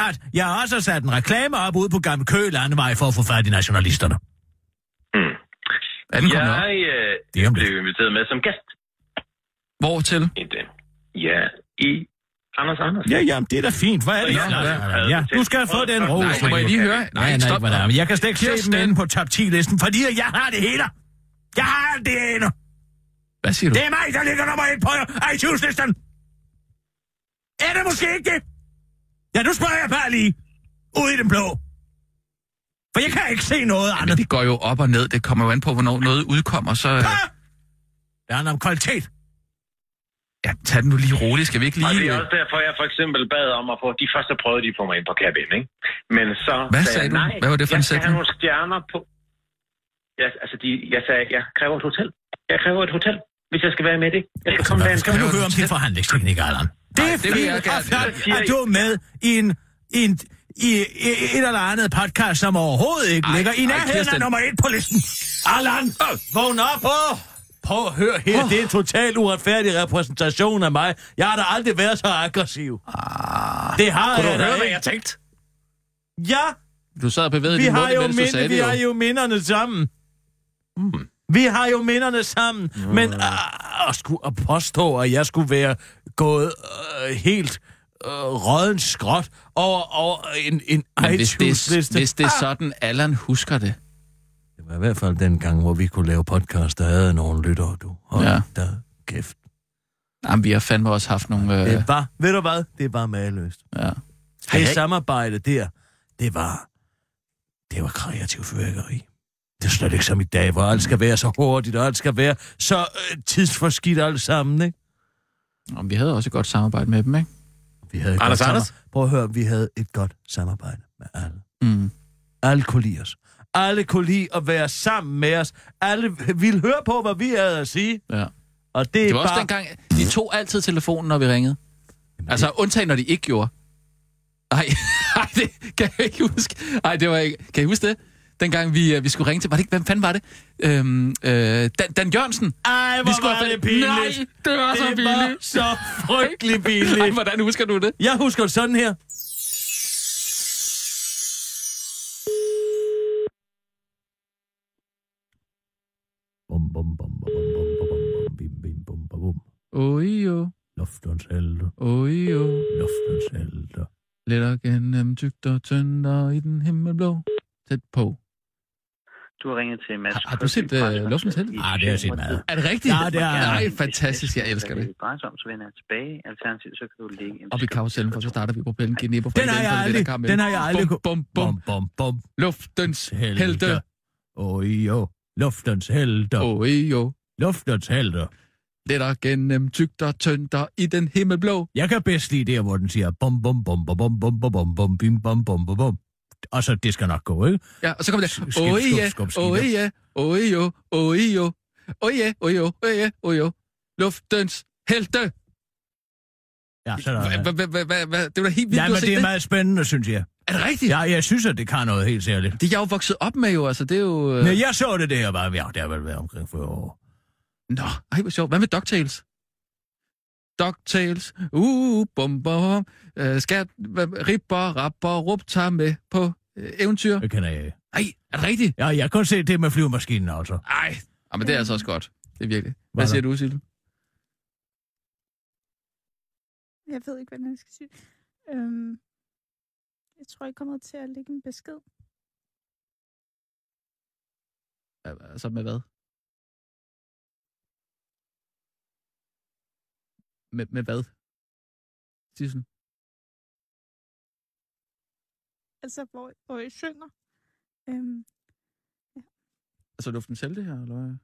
Speaker 5: at jeg også har sat en reklame op ude på Gamle Kø Landevej for at få fat i nationalisterne.
Speaker 7: Mm.
Speaker 6: Er den kommet op?
Speaker 7: Jeg øh,
Speaker 5: Det er om
Speaker 7: blev
Speaker 5: lidt.
Speaker 7: inviteret med som gæst
Speaker 6: Hvor til?
Speaker 7: i den. Ja, i Anders og Anders.
Speaker 5: Ja, jamen, det er da fint. Hvad er det?
Speaker 7: Ja,
Speaker 5: Allan?
Speaker 7: ja.
Speaker 5: Ja, du skal få den ro.
Speaker 6: Nej, Altså, må jeg lige høre?
Speaker 5: Nej, nej, stop.
Speaker 6: nej.
Speaker 5: Jeg kan slet ikke se
Speaker 6: Kirsten.
Speaker 5: den inde på top 10-listen, fordi jeg har det hele. Jeg har alt det ene.
Speaker 6: Hvad siger du?
Speaker 5: Det er mig, der ligger nummer et på øh, iTunes-listen. Er det måske ikke det? Ja, nu spørger jeg bare lige. Ud i den blå. For jeg kan ikke se noget andet.
Speaker 6: Men det går jo op og ned. Det kommer jo an på, hvornår noget udkommer, så... Øh,
Speaker 5: Ah! Det handler om kvalitet.
Speaker 6: ja, tag den nu lige roligt. Skal vi ikke
Speaker 7: Og det
Speaker 6: lige...
Speaker 7: er
Speaker 6: Øh,
Speaker 7: også derfor, jeg for eksempel bad om at få... De første prøvede de at få mig ind på cabin, ikke? Men så
Speaker 6: Hvad
Speaker 7: sagde
Speaker 6: sagde
Speaker 7: jeg,
Speaker 6: du?
Speaker 7: nej,
Speaker 6: Hvad var det for
Speaker 7: jeg
Speaker 6: en
Speaker 7: skal
Speaker 6: sætning?
Speaker 7: have nogle stjerner på... Ja, altså, de, jeg sagde, jeg kræver et hotel. Jeg kræver et hotel, hvis jeg skal være med i det. Jeg skal komme
Speaker 5: Nå,
Speaker 7: derind.
Speaker 5: skal vi nu høre om din forhandlingsteknik, Allan? Det er
Speaker 6: det vil jeg
Speaker 5: fint,
Speaker 6: gerne.
Speaker 5: og flot,
Speaker 7: Jeg-
Speaker 5: at du er med i en, i en i, i et eller andet podcast, som overhovedet ikke ej, ligger i nærheden af
Speaker 6: Kirsten.
Speaker 5: nummer et på listen. Allan, øh, vågn op! Oh. Prøv at høre her, oh. det er en totalt uretfærdig repræsentation af mig. Jeg har da aldrig været så aggressiv. Ah, det har
Speaker 9: Kunne
Speaker 5: jeg
Speaker 9: du
Speaker 5: da
Speaker 9: høre,
Speaker 5: ikke.
Speaker 9: hvad jeg tænkte?
Speaker 5: Ja,
Speaker 6: Du sad og bevægede
Speaker 5: vi
Speaker 6: din
Speaker 5: har
Speaker 6: mund,
Speaker 5: jo
Speaker 6: imens du sagde
Speaker 5: minde, vi
Speaker 6: det
Speaker 5: har jo minderne sammen. Mm. Vi har jo minderne sammen, mm. men ah, at, skulle, at påstå, at jeg skulle være gået øh, helt øh, råden skråt over, over en, en
Speaker 6: Men hvis det,
Speaker 5: iTunes-liste. Ah!
Speaker 6: hvis det er sådan, Allan husker det.
Speaker 5: Det var i hvert fald den gang, hvor vi kunne lave podcast, der havde nogle lyttere, du. Hold ja.
Speaker 6: Ja.
Speaker 5: da kæft.
Speaker 6: Jamen, vi har fandme også haft nogle... Øh,
Speaker 5: Det var, ved du hvad? Det var mageløst.
Speaker 6: ja.
Speaker 5: Det samarbejde der, det var, det var kreativ fyrværkeri. Det er slet ikke som i dag, hvor alt skal være så hurtigt, og alt skal være så øh, tidsforskidt alt sammen, ikke?
Speaker 6: Jamen, vi havde også et godt samarbejde med dem, ikke?
Speaker 5: Vi havde et
Speaker 9: Anders,
Speaker 5: godt
Speaker 9: Anders?
Speaker 5: samar- Prøv at høre, vi havde et godt samarbejde med alle.
Speaker 6: Mm.
Speaker 5: Alle kunne lide os. Alle kunne lide at være sammen med os. Alle ville høre på, hvad vi havde at sige.
Speaker 6: Ja.
Speaker 5: Og det, er
Speaker 6: Det var også
Speaker 5: bare...
Speaker 6: dengang, de tog altid telefonen, når vi ringede. Altså, undtagen, når de ikke gjorde. Nej, det kan jeg ikke huske. Nej, det var ikke... Kan I huske det? Dengang vi, øh, vi skulle ringe til... Var det ikke... Hvem fanden var det? Øhm, øh, Dan, Dan Jørgensen.
Speaker 5: Ej, hvor
Speaker 6: Vi skulle
Speaker 5: var
Speaker 6: have-
Speaker 5: det pinligt.
Speaker 6: Nej, det var så
Speaker 5: Det var
Speaker 6: pinligt.
Speaker 5: så frygtelig
Speaker 6: Ej,
Speaker 5: pinligt.
Speaker 6: hvordan husker du det?
Speaker 5: Jeg husker det sådan her. Bum, bum, bum, bum, bum, bum, bum, bum, bum, bim, bim, bum, bum, bum.
Speaker 6: Oi, jo.
Speaker 5: Luftens helte,
Speaker 6: Oi, jo.
Speaker 5: luftens helte.
Speaker 6: Lidt og gennem tygt og tynd og i den himmelblå. Tæt på.
Speaker 13: Du har ringet til Mads.
Speaker 6: Har- har du set, øh, Luftens Helte?
Speaker 5: Ah, det har jeg set meget.
Speaker 6: Er det rigtigt?
Speaker 5: Ja, det er-
Speaker 6: Nej, fantastisk. Jeg elsker det.
Speaker 13: Bare så om, så vender jeg tilbage. Alternativt, så kan du lægge en
Speaker 6: Op i karusellen, for så starter vi på bælgen. Genipper på
Speaker 5: Den har jeg aldrig, den har jeg aldrig.
Speaker 6: Bum, bum, bum.
Speaker 5: Bum, bum, bum,
Speaker 6: Luftens helte.
Speaker 5: helte. Oi, jo. Luftens helte,
Speaker 6: Oi, jo.
Speaker 5: luftens helte.
Speaker 6: Lidt og gennem tygt og tyndt og i den himmelblå.
Speaker 5: Jeg kan bedst lide der, hvor den siger bum, bum, bum, bum, bum, bum, bum, bum, bum, bim, bum, bum, bum, bum. Og så, det skal nok gå, ikke?
Speaker 6: Ja, og så kommer
Speaker 5: Skib,
Speaker 6: det.
Speaker 5: skib,
Speaker 6: Oi,
Speaker 5: skub,
Speaker 6: ja.
Speaker 5: skub, skib.
Speaker 6: Oi, ja. Oi, jo. Oi, jo. Oi, ja. Oi, jo. Oi, ja. Oi, jo. Luftens helte.
Speaker 5: Ja, så er der...
Speaker 6: Hva- hva- hva- hva- hva- Det var da helt vildt,
Speaker 5: Ja,
Speaker 6: du
Speaker 5: men
Speaker 6: har
Speaker 5: det
Speaker 6: set
Speaker 5: er
Speaker 6: det.
Speaker 5: meget spændende, synes jeg.
Speaker 6: Er det rigtigt?
Speaker 5: Ja, jeg synes, at det kan noget helt særligt.
Speaker 6: Det er jeg jo vokset op med jo, altså. Det er jo... øh,
Speaker 5: Men jeg så det der, var, ja, det har vel været omkring 40 år.
Speaker 6: Nå, ej, hvor sjovt. Hvad med DuckTales? DuckTales, uh, bum, bum, bum. Øh, skat, hvad- ripper, rapper, rup, tager med på øh, eventyr.
Speaker 5: Det kender jeg ikke.
Speaker 6: Ej, er det rigtigt?
Speaker 5: Ja, jeg kunne se det med flyvemaskinen, altså.
Speaker 6: Ej, ah, men det er altså også godt. Det er virkelig.
Speaker 5: Var
Speaker 6: Hvad siger du, Silde?
Speaker 14: Jeg ved ikke, hvordan jeg skal sige. Øhm, jeg tror, jeg kommer til at lægge en besked.
Speaker 6: Hva- Altså med hvad? Med, med hvad? Sissel?
Speaker 14: Altså, hvor, hvor jeg synger. Øhm,
Speaker 6: Altså luften selv det her, eller hvad?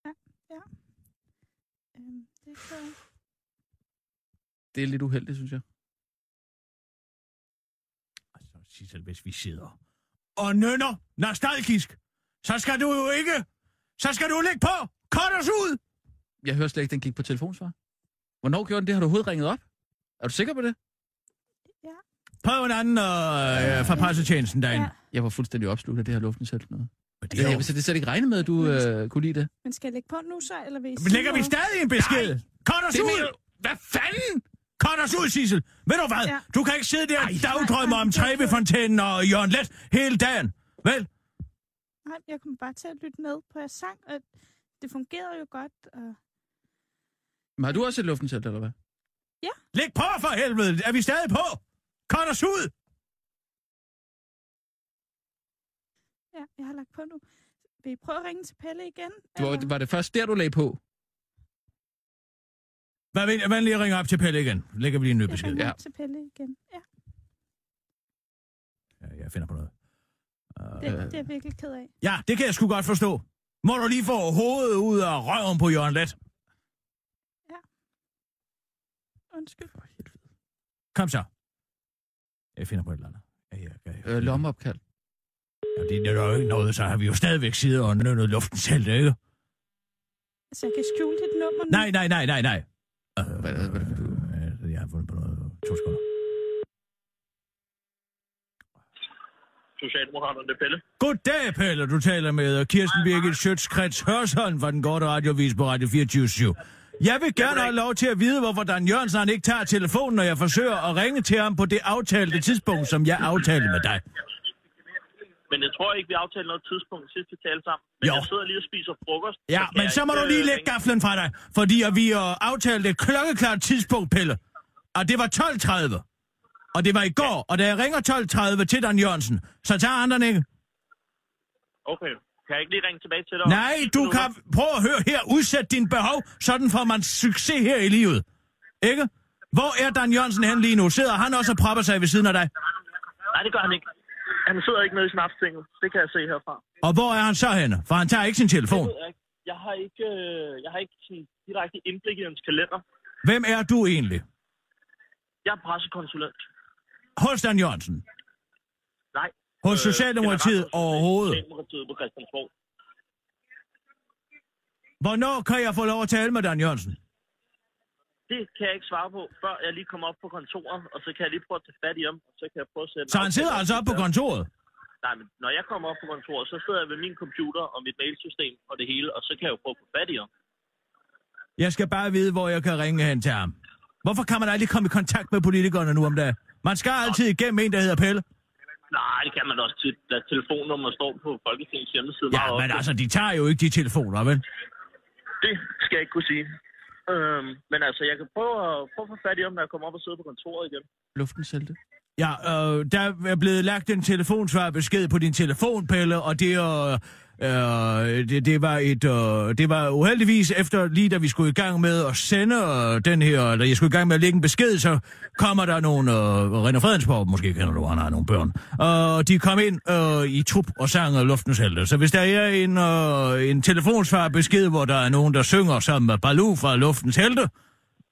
Speaker 6: Hvad?
Speaker 14: ja. Øhm, det kan jeg.
Speaker 6: Det er lidt uheldigt, synes jeg.
Speaker 5: Altså, Sissel, hvis vi sidder og nynner nostalgisk, så skal du jo ikke... Så skal du lægge på! Cut os ud!
Speaker 6: Jeg hører slet ikke, den gik på telefonsvar. Hvornår gjorde den det? Har du overhovedet ringet op? Er du sikker på det?
Speaker 5: Prøv en anden øh, fra pressetjenesten derinde.
Speaker 14: Ja.
Speaker 6: Jeg var fuldstændig opslugt af det her luftens helt noget.
Speaker 5: Men det
Speaker 6: Det
Speaker 5: er
Speaker 6: jeg
Speaker 5: jo...
Speaker 6: vil slet ikke regne med, at du øh, kunne lide det.
Speaker 14: Men skal jeg lægge på nu så, eller vil I
Speaker 5: Men
Speaker 14: sige
Speaker 5: Lægger vi
Speaker 14: noget?
Speaker 5: stadig en besked? Cut os
Speaker 6: Det
Speaker 5: ud!
Speaker 6: mener du- Hvad fanden?
Speaker 5: Cut os ud, Sissel. Ved du hvad? Ja.
Speaker 14: Ja.
Speaker 5: Du kan ikke sidde der og dagdrømme
Speaker 14: nej,
Speaker 5: om
Speaker 14: det er ikke-
Speaker 5: Trevefontænen og Jørgen Let hele dagen. Vel?
Speaker 14: Nej, jeg kom bare til at lytte med på jeres sang, og det fungerede jo godt. Og...
Speaker 6: Men har du også et luftens helt, eller hvad?
Speaker 5: Læg på for helvede. Er vi stadig på? Cut os ud!
Speaker 14: Ja, jeg har lagt på nu. Vil I prøve at ringe til Pelle igen?
Speaker 6: Det var,
Speaker 14: eller?
Speaker 6: det var det først der, du lagde på?
Speaker 5: Hvad vil jeg lige ringe op til Pelle igen? Lægger vi lige en ny
Speaker 14: Jeg
Speaker 5: besked.
Speaker 14: ringer
Speaker 6: Ja.
Speaker 14: op til Pelle igen. Ja,
Speaker 5: Ja, jeg finder på noget.
Speaker 14: det,
Speaker 6: øh,
Speaker 14: det er jeg virkelig ked af.
Speaker 5: Ja, det kan jeg sgu godt forstå. Må du lige få hovedet ud af røven på Jørgen Let.
Speaker 14: Undskyld.
Speaker 5: Kom så. Jeg finder på et eller andet. Ja, jeg, jeg, jeg,
Speaker 6: Øh, lommeopkald.
Speaker 5: Ja, det er jo ikke noget, så har vi jo stadigvæk siddet og nynnet luften selv, ikke?
Speaker 14: Altså, jeg kan skjule dit nummer nu.
Speaker 5: Nej, nej, nej, nej, nej. Øh,
Speaker 6: Hvad, hvad, hvad, du?
Speaker 5: øh, Jeg har fundet på noget. To sekunder.
Speaker 13: Socialdemokraterne, det er Pelle.
Speaker 5: Goddag, Pelle. Du taler med Kirsten Birgit Schøtzgrads Hørsholm fra den korte radiovis på Radio 24 /7. Jeg vil gerne have lov til at vide, hvorfor Dan Jørgensen han ikke tager telefonen, når jeg forsøger at ringe til ham på det aftalte tidspunkt, som jeg aftalte med dig.
Speaker 13: Men jeg tror ikke, vi aftalte noget tidspunkt sidst, vi talte sammen. Men
Speaker 5: Jo.
Speaker 13: jeg sidder lige og spiser frokost.
Speaker 5: Ja,
Speaker 13: kan
Speaker 5: men
Speaker 13: jeg
Speaker 5: så må
Speaker 13: ikke,
Speaker 5: du
Speaker 13: øh,
Speaker 5: lige lægge
Speaker 13: ringe.
Speaker 5: gaflen fra dig, fordi at vi øh, aftalte et klokkeklart tidspunkt, Pelle. Og det var 12.30. Og det var i går, og da jeg ringer 12.30 til Dan Jørgensen, så tager han den ikke.
Speaker 13: Okay. Kan jeg ikke lige ringe tilbage til dig? om
Speaker 5: Nej,
Speaker 13: 10
Speaker 5: du
Speaker 13: minutter?
Speaker 5: kan... Prøv at høre her, udsæt dine behov, sådan får man succes her i livet. Ikke? Hvor er Dan Jørgensen hen lige nu? Sidder han også og propper sig ved siden af dig?
Speaker 13: Nej, det gør han ikke. Han sidder ikke nede i snapstinget. Det kan jeg se herfra.
Speaker 5: Og hvor er han så henne? For han tager ikke sin telefon.
Speaker 13: Det ved jeg ikke. Jeg har ikke, øh, jeg har ikke sådan direkte indblik i hans kalender.
Speaker 5: Hvem er du egentlig?
Speaker 13: Jeg er pressekonsulent.
Speaker 5: Hos Dan Jørgensen?
Speaker 13: Nej.
Speaker 5: Hos
Speaker 10: Øh,
Speaker 5: Socialdemokratiet overhovedet?
Speaker 13: Øh, Socialdemokratiet på Christiansborg.
Speaker 5: Hvornår kan jeg få lov at tale med Dan Jørgensen?
Speaker 13: Det kan jeg ikke svare på, før jeg lige kommer op på kontoret, og så kan jeg lige prøve at tage fat i ham, og så kan jeg prøve at sætte... en
Speaker 5: Så han sidder
Speaker 13: aftale op.
Speaker 5: altså oppe på kontoret?
Speaker 13: Nej, men når jeg kommer op på kontoret, så sidder jeg ved min computer og mit mailsystem og det hele, og så kan jeg jo prøve at få fat i ham.
Speaker 5: Jeg skal bare vide, hvor jeg kan ringe hen til ham. Hvorfor kan man aldrig komme i kontakt med politikerne nu om dagen? Man skal altid igennem en, der hedder Pelle.
Speaker 13: Nej, det kan man også tit. Deres telefonnummer står på Folketingets hjemmeside. meget
Speaker 5: Ja, men
Speaker 13: ofte.
Speaker 5: altså, de tager jo ikke de telefoner, vel?
Speaker 13: Det skal jeg ikke kunne sige. Øhm, men altså, jeg kan prøve at, prøve at få fat i ham, når jeg kommer op og sidder på kontoret igen.
Speaker 6: Luften selv det.
Speaker 5: Ja, øh, der er blevet lagt en telefonsvarbesked på din telefon, Pelle, og det, øh, øh, det, det, var et, øh, det var uheldigvis efter lige da vi skulle i gang med at sende øh, den her, eller jeg skulle i gang med at lægge en besked, så kommer der nogle, øh, René Fredensborg, måske kender du, han har nogle børn, og de kom ind øh, i trup og sang øh, Luftens Helte. Så hvis der er en, øh, en telefonsvarbesked, hvor der er nogen, der synger sammen med Baloo fra Luftens Helte,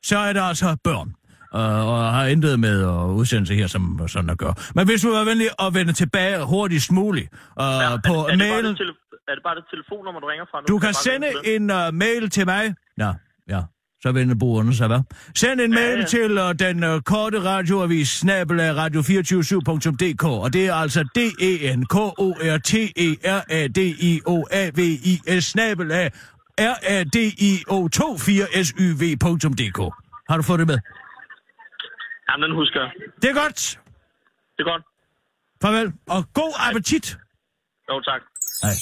Speaker 5: så er der altså børn. Og, og har intet med at udsendelse her, som øh, sådan at gøre. Men hvis du er venlig at vende tilbage hurtigst muligt uh, ja, på
Speaker 13: er, det bare
Speaker 5: mailen.
Speaker 13: det tele- er det bare det telefonnummer, du ringer fra nu?
Speaker 5: Du kan
Speaker 13: Jeg bare
Speaker 5: sende
Speaker 13: ringe til det?
Speaker 5: en uh, mail til mig. Nå, ja. Så vender brugerne sig, hvad? Send en mail
Speaker 13: ja.
Speaker 5: til uh, den uh, korte radioavis, snabel øh, radio247.dk, og det er altså d e n k o r t e r a d i o a v i s snabel øh, r a d i o 24 s y v.dk. Har du fået det med?
Speaker 13: Jamen, den husker jeg.
Speaker 5: Det er godt.
Speaker 13: Det er godt.
Speaker 5: Farvel, og god appetit.
Speaker 13: Jo, tak.
Speaker 5: Hej.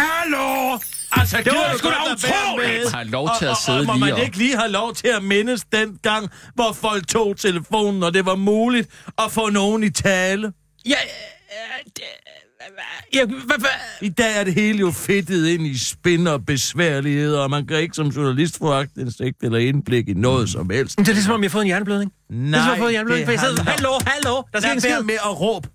Speaker 2: Hallo! Altså,
Speaker 5: Det var
Speaker 2: gider
Speaker 5: sgu da
Speaker 2: godt at være
Speaker 5: utroligt!
Speaker 2: med?
Speaker 6: Har lov til
Speaker 2: Og-
Speaker 6: at
Speaker 2: og-
Speaker 6: sidde
Speaker 2: og, må
Speaker 6: lige
Speaker 2: man
Speaker 6: op.
Speaker 2: ikke lige have lov til at mindes den gang, hvor folk tog telefonen, og det var muligt at få nogen i tale?
Speaker 6: Ja,
Speaker 2: ja, hvad, hvad? I dag er det hele jo fedtet ind i spin og besværligheder, og man kan ikke som journalist få agtindsigt eller indblik i noget som helst.
Speaker 9: Det er ligesom, om jeg har fået en hjerneblødning.
Speaker 2: Nej,
Speaker 9: ligesom, jeg har fået hjerneblødning, for jeg sidder,
Speaker 2: handler-
Speaker 9: hallo, hallo, der sker
Speaker 2: Lad
Speaker 9: en
Speaker 2: være
Speaker 9: skid.
Speaker 2: med at råbe.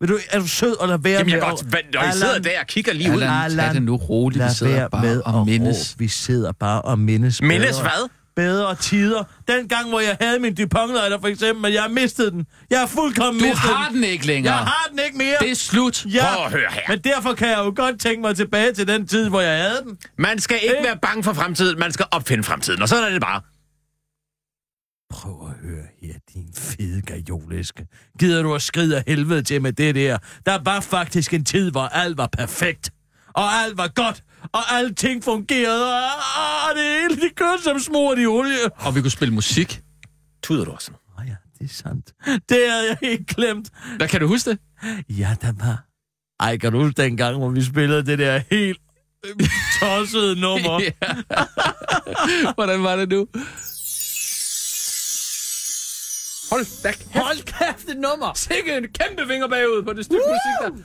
Speaker 2: Vil du, er du sød at lade være
Speaker 9: Jamen, jeg
Speaker 2: med
Speaker 9: kan godt- hvad- når I sidder der og kigger lige ud-
Speaker 2: Allan,
Speaker 6: Tag det nu roligt, vi
Speaker 2: lad
Speaker 6: sidder
Speaker 2: være
Speaker 6: bare
Speaker 2: med
Speaker 6: og
Speaker 2: at
Speaker 6: mindes.
Speaker 2: råbe. Vi sidder bare og mindes.
Speaker 9: Mindes
Speaker 2: bedre-
Speaker 9: hvad?
Speaker 2: Bedre tider. Den gang, hvor jeg havde min Dupont-lighter, for eksempel, men jeg har mistet den. Jeg har fuldkommen
Speaker 6: Du
Speaker 2: mistet
Speaker 6: har den ikke længere.
Speaker 2: Jeg har den ikke mere.
Speaker 6: Det er slut.
Speaker 2: Ja,
Speaker 9: Prøv at høre her.
Speaker 2: men derfor kan jeg jo godt tænke mig tilbage til den tid, hvor jeg havde den.
Speaker 9: Man skal ikke være bange for fremtiden, man skal opfinde fremtiden, og sådan er det bare.
Speaker 2: Prøv at høre her, din fede gajolæske. Gider du at skride af helvede til med det der? Der var faktisk en tid, hvor alt var perfekt. Og alt var godt. Og alting fungerede. Og, og det hele, de kørte som smurt i olie.
Speaker 6: Og vi kunne spille musik.
Speaker 9: Tuder du også?
Speaker 2: Åh ja, det er sandt. Det havde jeg helt glemt.
Speaker 6: Hvad kan du huske det?
Speaker 2: Ja, der var... Ej, kan du huske dengang, hvor vi spillede det der helt øh, tossede nummer?
Speaker 6: Hvordan var det nu?
Speaker 9: Hold da kæft.
Speaker 6: Hold kæft, det nummer! Sikke en kæmpe vinger bagud på det stykke musik der.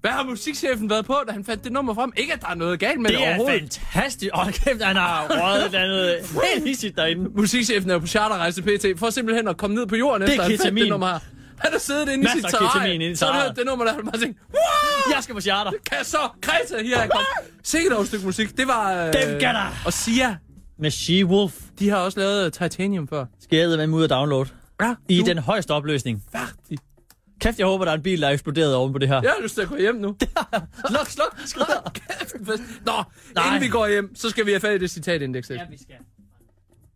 Speaker 6: Hvad har musikchefen været på, da han fandt det nummer frem? Ikke, at der er noget galt med det,
Speaker 12: Det er
Speaker 6: overhovedet.
Speaker 12: fantastisk. Åh, kæft, han har røget et eller andet helt hissigt derinde.
Speaker 6: Musikchefen er jo på charterrejse PT, for simpelthen at komme ned på jorden,
Speaker 12: Det er
Speaker 6: efter han fandt det
Speaker 12: ketamin.
Speaker 6: nummer her. Han har siddet inde i
Speaker 12: Masser
Speaker 6: sit
Speaker 12: af
Speaker 6: terrarie,
Speaker 12: ketamin inde i
Speaker 6: så har han
Speaker 12: terrariet.
Speaker 6: hørt det nummer, der han bare tænkt, wow!
Speaker 12: Jeg skal på charter.
Speaker 6: Kan jeg så? Kreta, her er jeg kommet. Sikke dog et stykke musik. Det var... Øh,
Speaker 12: Dem gør der.
Speaker 6: Og Sia,
Speaker 12: Med She-Wolf
Speaker 6: de har også lavet øh, Titanium før.
Speaker 12: skal jeg med ud og download.
Speaker 6: Ja,
Speaker 12: I
Speaker 6: nu.
Speaker 12: den højeste opløsning.
Speaker 6: Færdig.
Speaker 12: Kæft, jeg håber, der er en bil, der er eksploderet oven på det her.
Speaker 6: Jeg har lyst til at gå hjem nu. sluk, sluk, sluk. Kæft, en fest. Nå, Nej.
Speaker 12: Nej.
Speaker 6: inden vi går hjem, så skal vi have fat i det citatindeks. Ja,
Speaker 12: vi skal.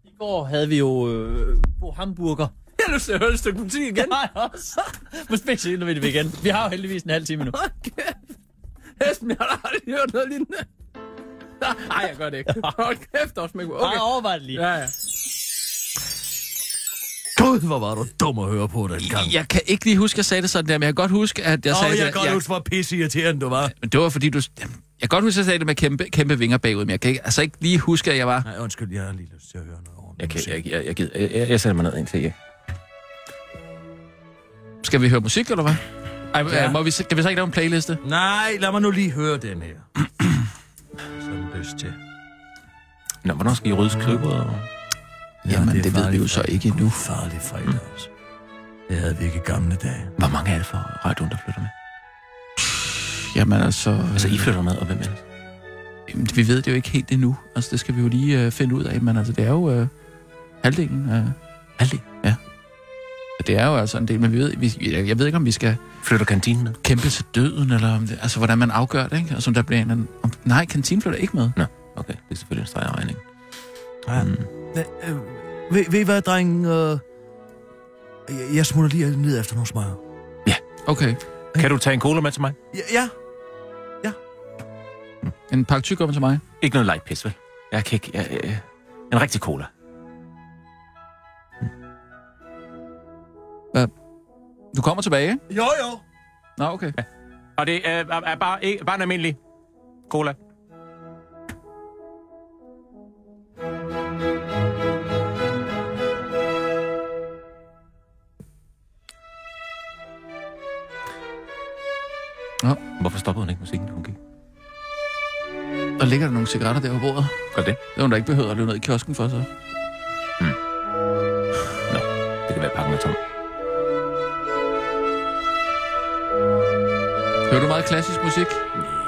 Speaker 12: I går havde vi jo øh, Bo Hamburger.
Speaker 6: Jeg har lyst til at høre et stykke musik igen.
Speaker 12: Nej, også. Måske senere ved vi igen. Vi har jo heldigvis en halv time nu.
Speaker 6: Hold kæft. Esben, jeg har da aldrig hørt noget lignende. Der Nej, jeg gør det ikke. Hold kæft, også med
Speaker 12: Okay. Bare overvej det lige.
Speaker 6: Ja, ja.
Speaker 5: Gud, hvor var du dum at høre på den gang.
Speaker 6: Jeg kan ikke lige huske, at jeg sagde det sådan der, men jeg kan godt huske, at jeg
Speaker 5: Åh,
Speaker 6: sagde
Speaker 5: jeg
Speaker 6: det.
Speaker 5: kan godt huske, hvor pisseirriterende du var.
Speaker 6: Men det var fordi, du... Jamen, Jeg kan godt huske, at jeg sagde det med kæmpe, kæmpe vinger bagud, men jeg kan ikke, altså ikke lige huske, at jeg var...
Speaker 5: Nej, undskyld, jeg har lige lyst til at høre noget over.
Speaker 9: Jeg, kan, jeg, jeg, jeg, gider, jeg, jeg, jeg sætter mig ned indtil jeg.
Speaker 6: Skal vi høre musik, eller hvad? Ej, ja. må vi, kan vi så ikke lave en playliste?
Speaker 5: Nej, lad mig nu lige høre den her. Sådan lyst til.
Speaker 9: Nå, hvornår skal I rydde skriver?
Speaker 5: Ja,
Speaker 6: Jamen,
Speaker 5: er
Speaker 6: det, det ved vi
Speaker 5: farligt
Speaker 6: jo så ikke endnu.
Speaker 5: Farlig fredag også. Det havde vi ikke i gamle dage.
Speaker 9: Hvor mange er det for radioen, der flytter med?
Speaker 6: Jamen altså...
Speaker 9: Altså, I flytter med, og hvem ellers?
Speaker 6: Jamen, vi ved det jo ikke helt endnu. Altså, det skal vi jo lige øh, finde ud af. Men altså, det er jo øh, halvdelen af...
Speaker 9: Halvdelen?
Speaker 6: Ja. Og Det er jo altså en del, men vi ved, vi, jeg, jeg ved ikke, om vi skal
Speaker 9: Flytter kantinen med?
Speaker 6: kæmpe til døden, eller om det, altså, hvordan man afgør det, ikke? Altså, om der bliver en eller anden... Om, nej, kantinen flytter ikke med.
Speaker 9: Nå, okay. Det er selvfølgelig en streg af regning.
Speaker 5: Ja.
Speaker 9: Mm.
Speaker 5: Øh, øh, Ved, ved I hvad, dreng? Øh, jeg- jeg smutter lige ned efter nogle smøger.
Speaker 6: Okay.
Speaker 9: Kan du tage en cola med til mig?
Speaker 5: Ja, ja.
Speaker 6: En pakke tyggegummi til mig.
Speaker 9: Ikke noget light pis, vel? Jeg kan ikke... Jeg, jeg, en rigtig cola.
Speaker 6: Du kommer tilbage, ikke?
Speaker 5: Jo, jo.
Speaker 6: Nå, okay. Ja.
Speaker 9: Og det er, er, er bare, ikke, bare en almindelig cola.
Speaker 6: Nå.
Speaker 9: Hvorfor stoppede hun ikke musikken, da hun gik?
Speaker 6: Der ligger der nogle cigaretter der på bordet.
Speaker 9: Gør det.
Speaker 6: Det er hun da ikke behøver at løbe ned i kiosken for, så.
Speaker 9: Nå, det kan være, pakken er tom.
Speaker 6: Hører du meget klassisk musik?
Speaker 9: Ja,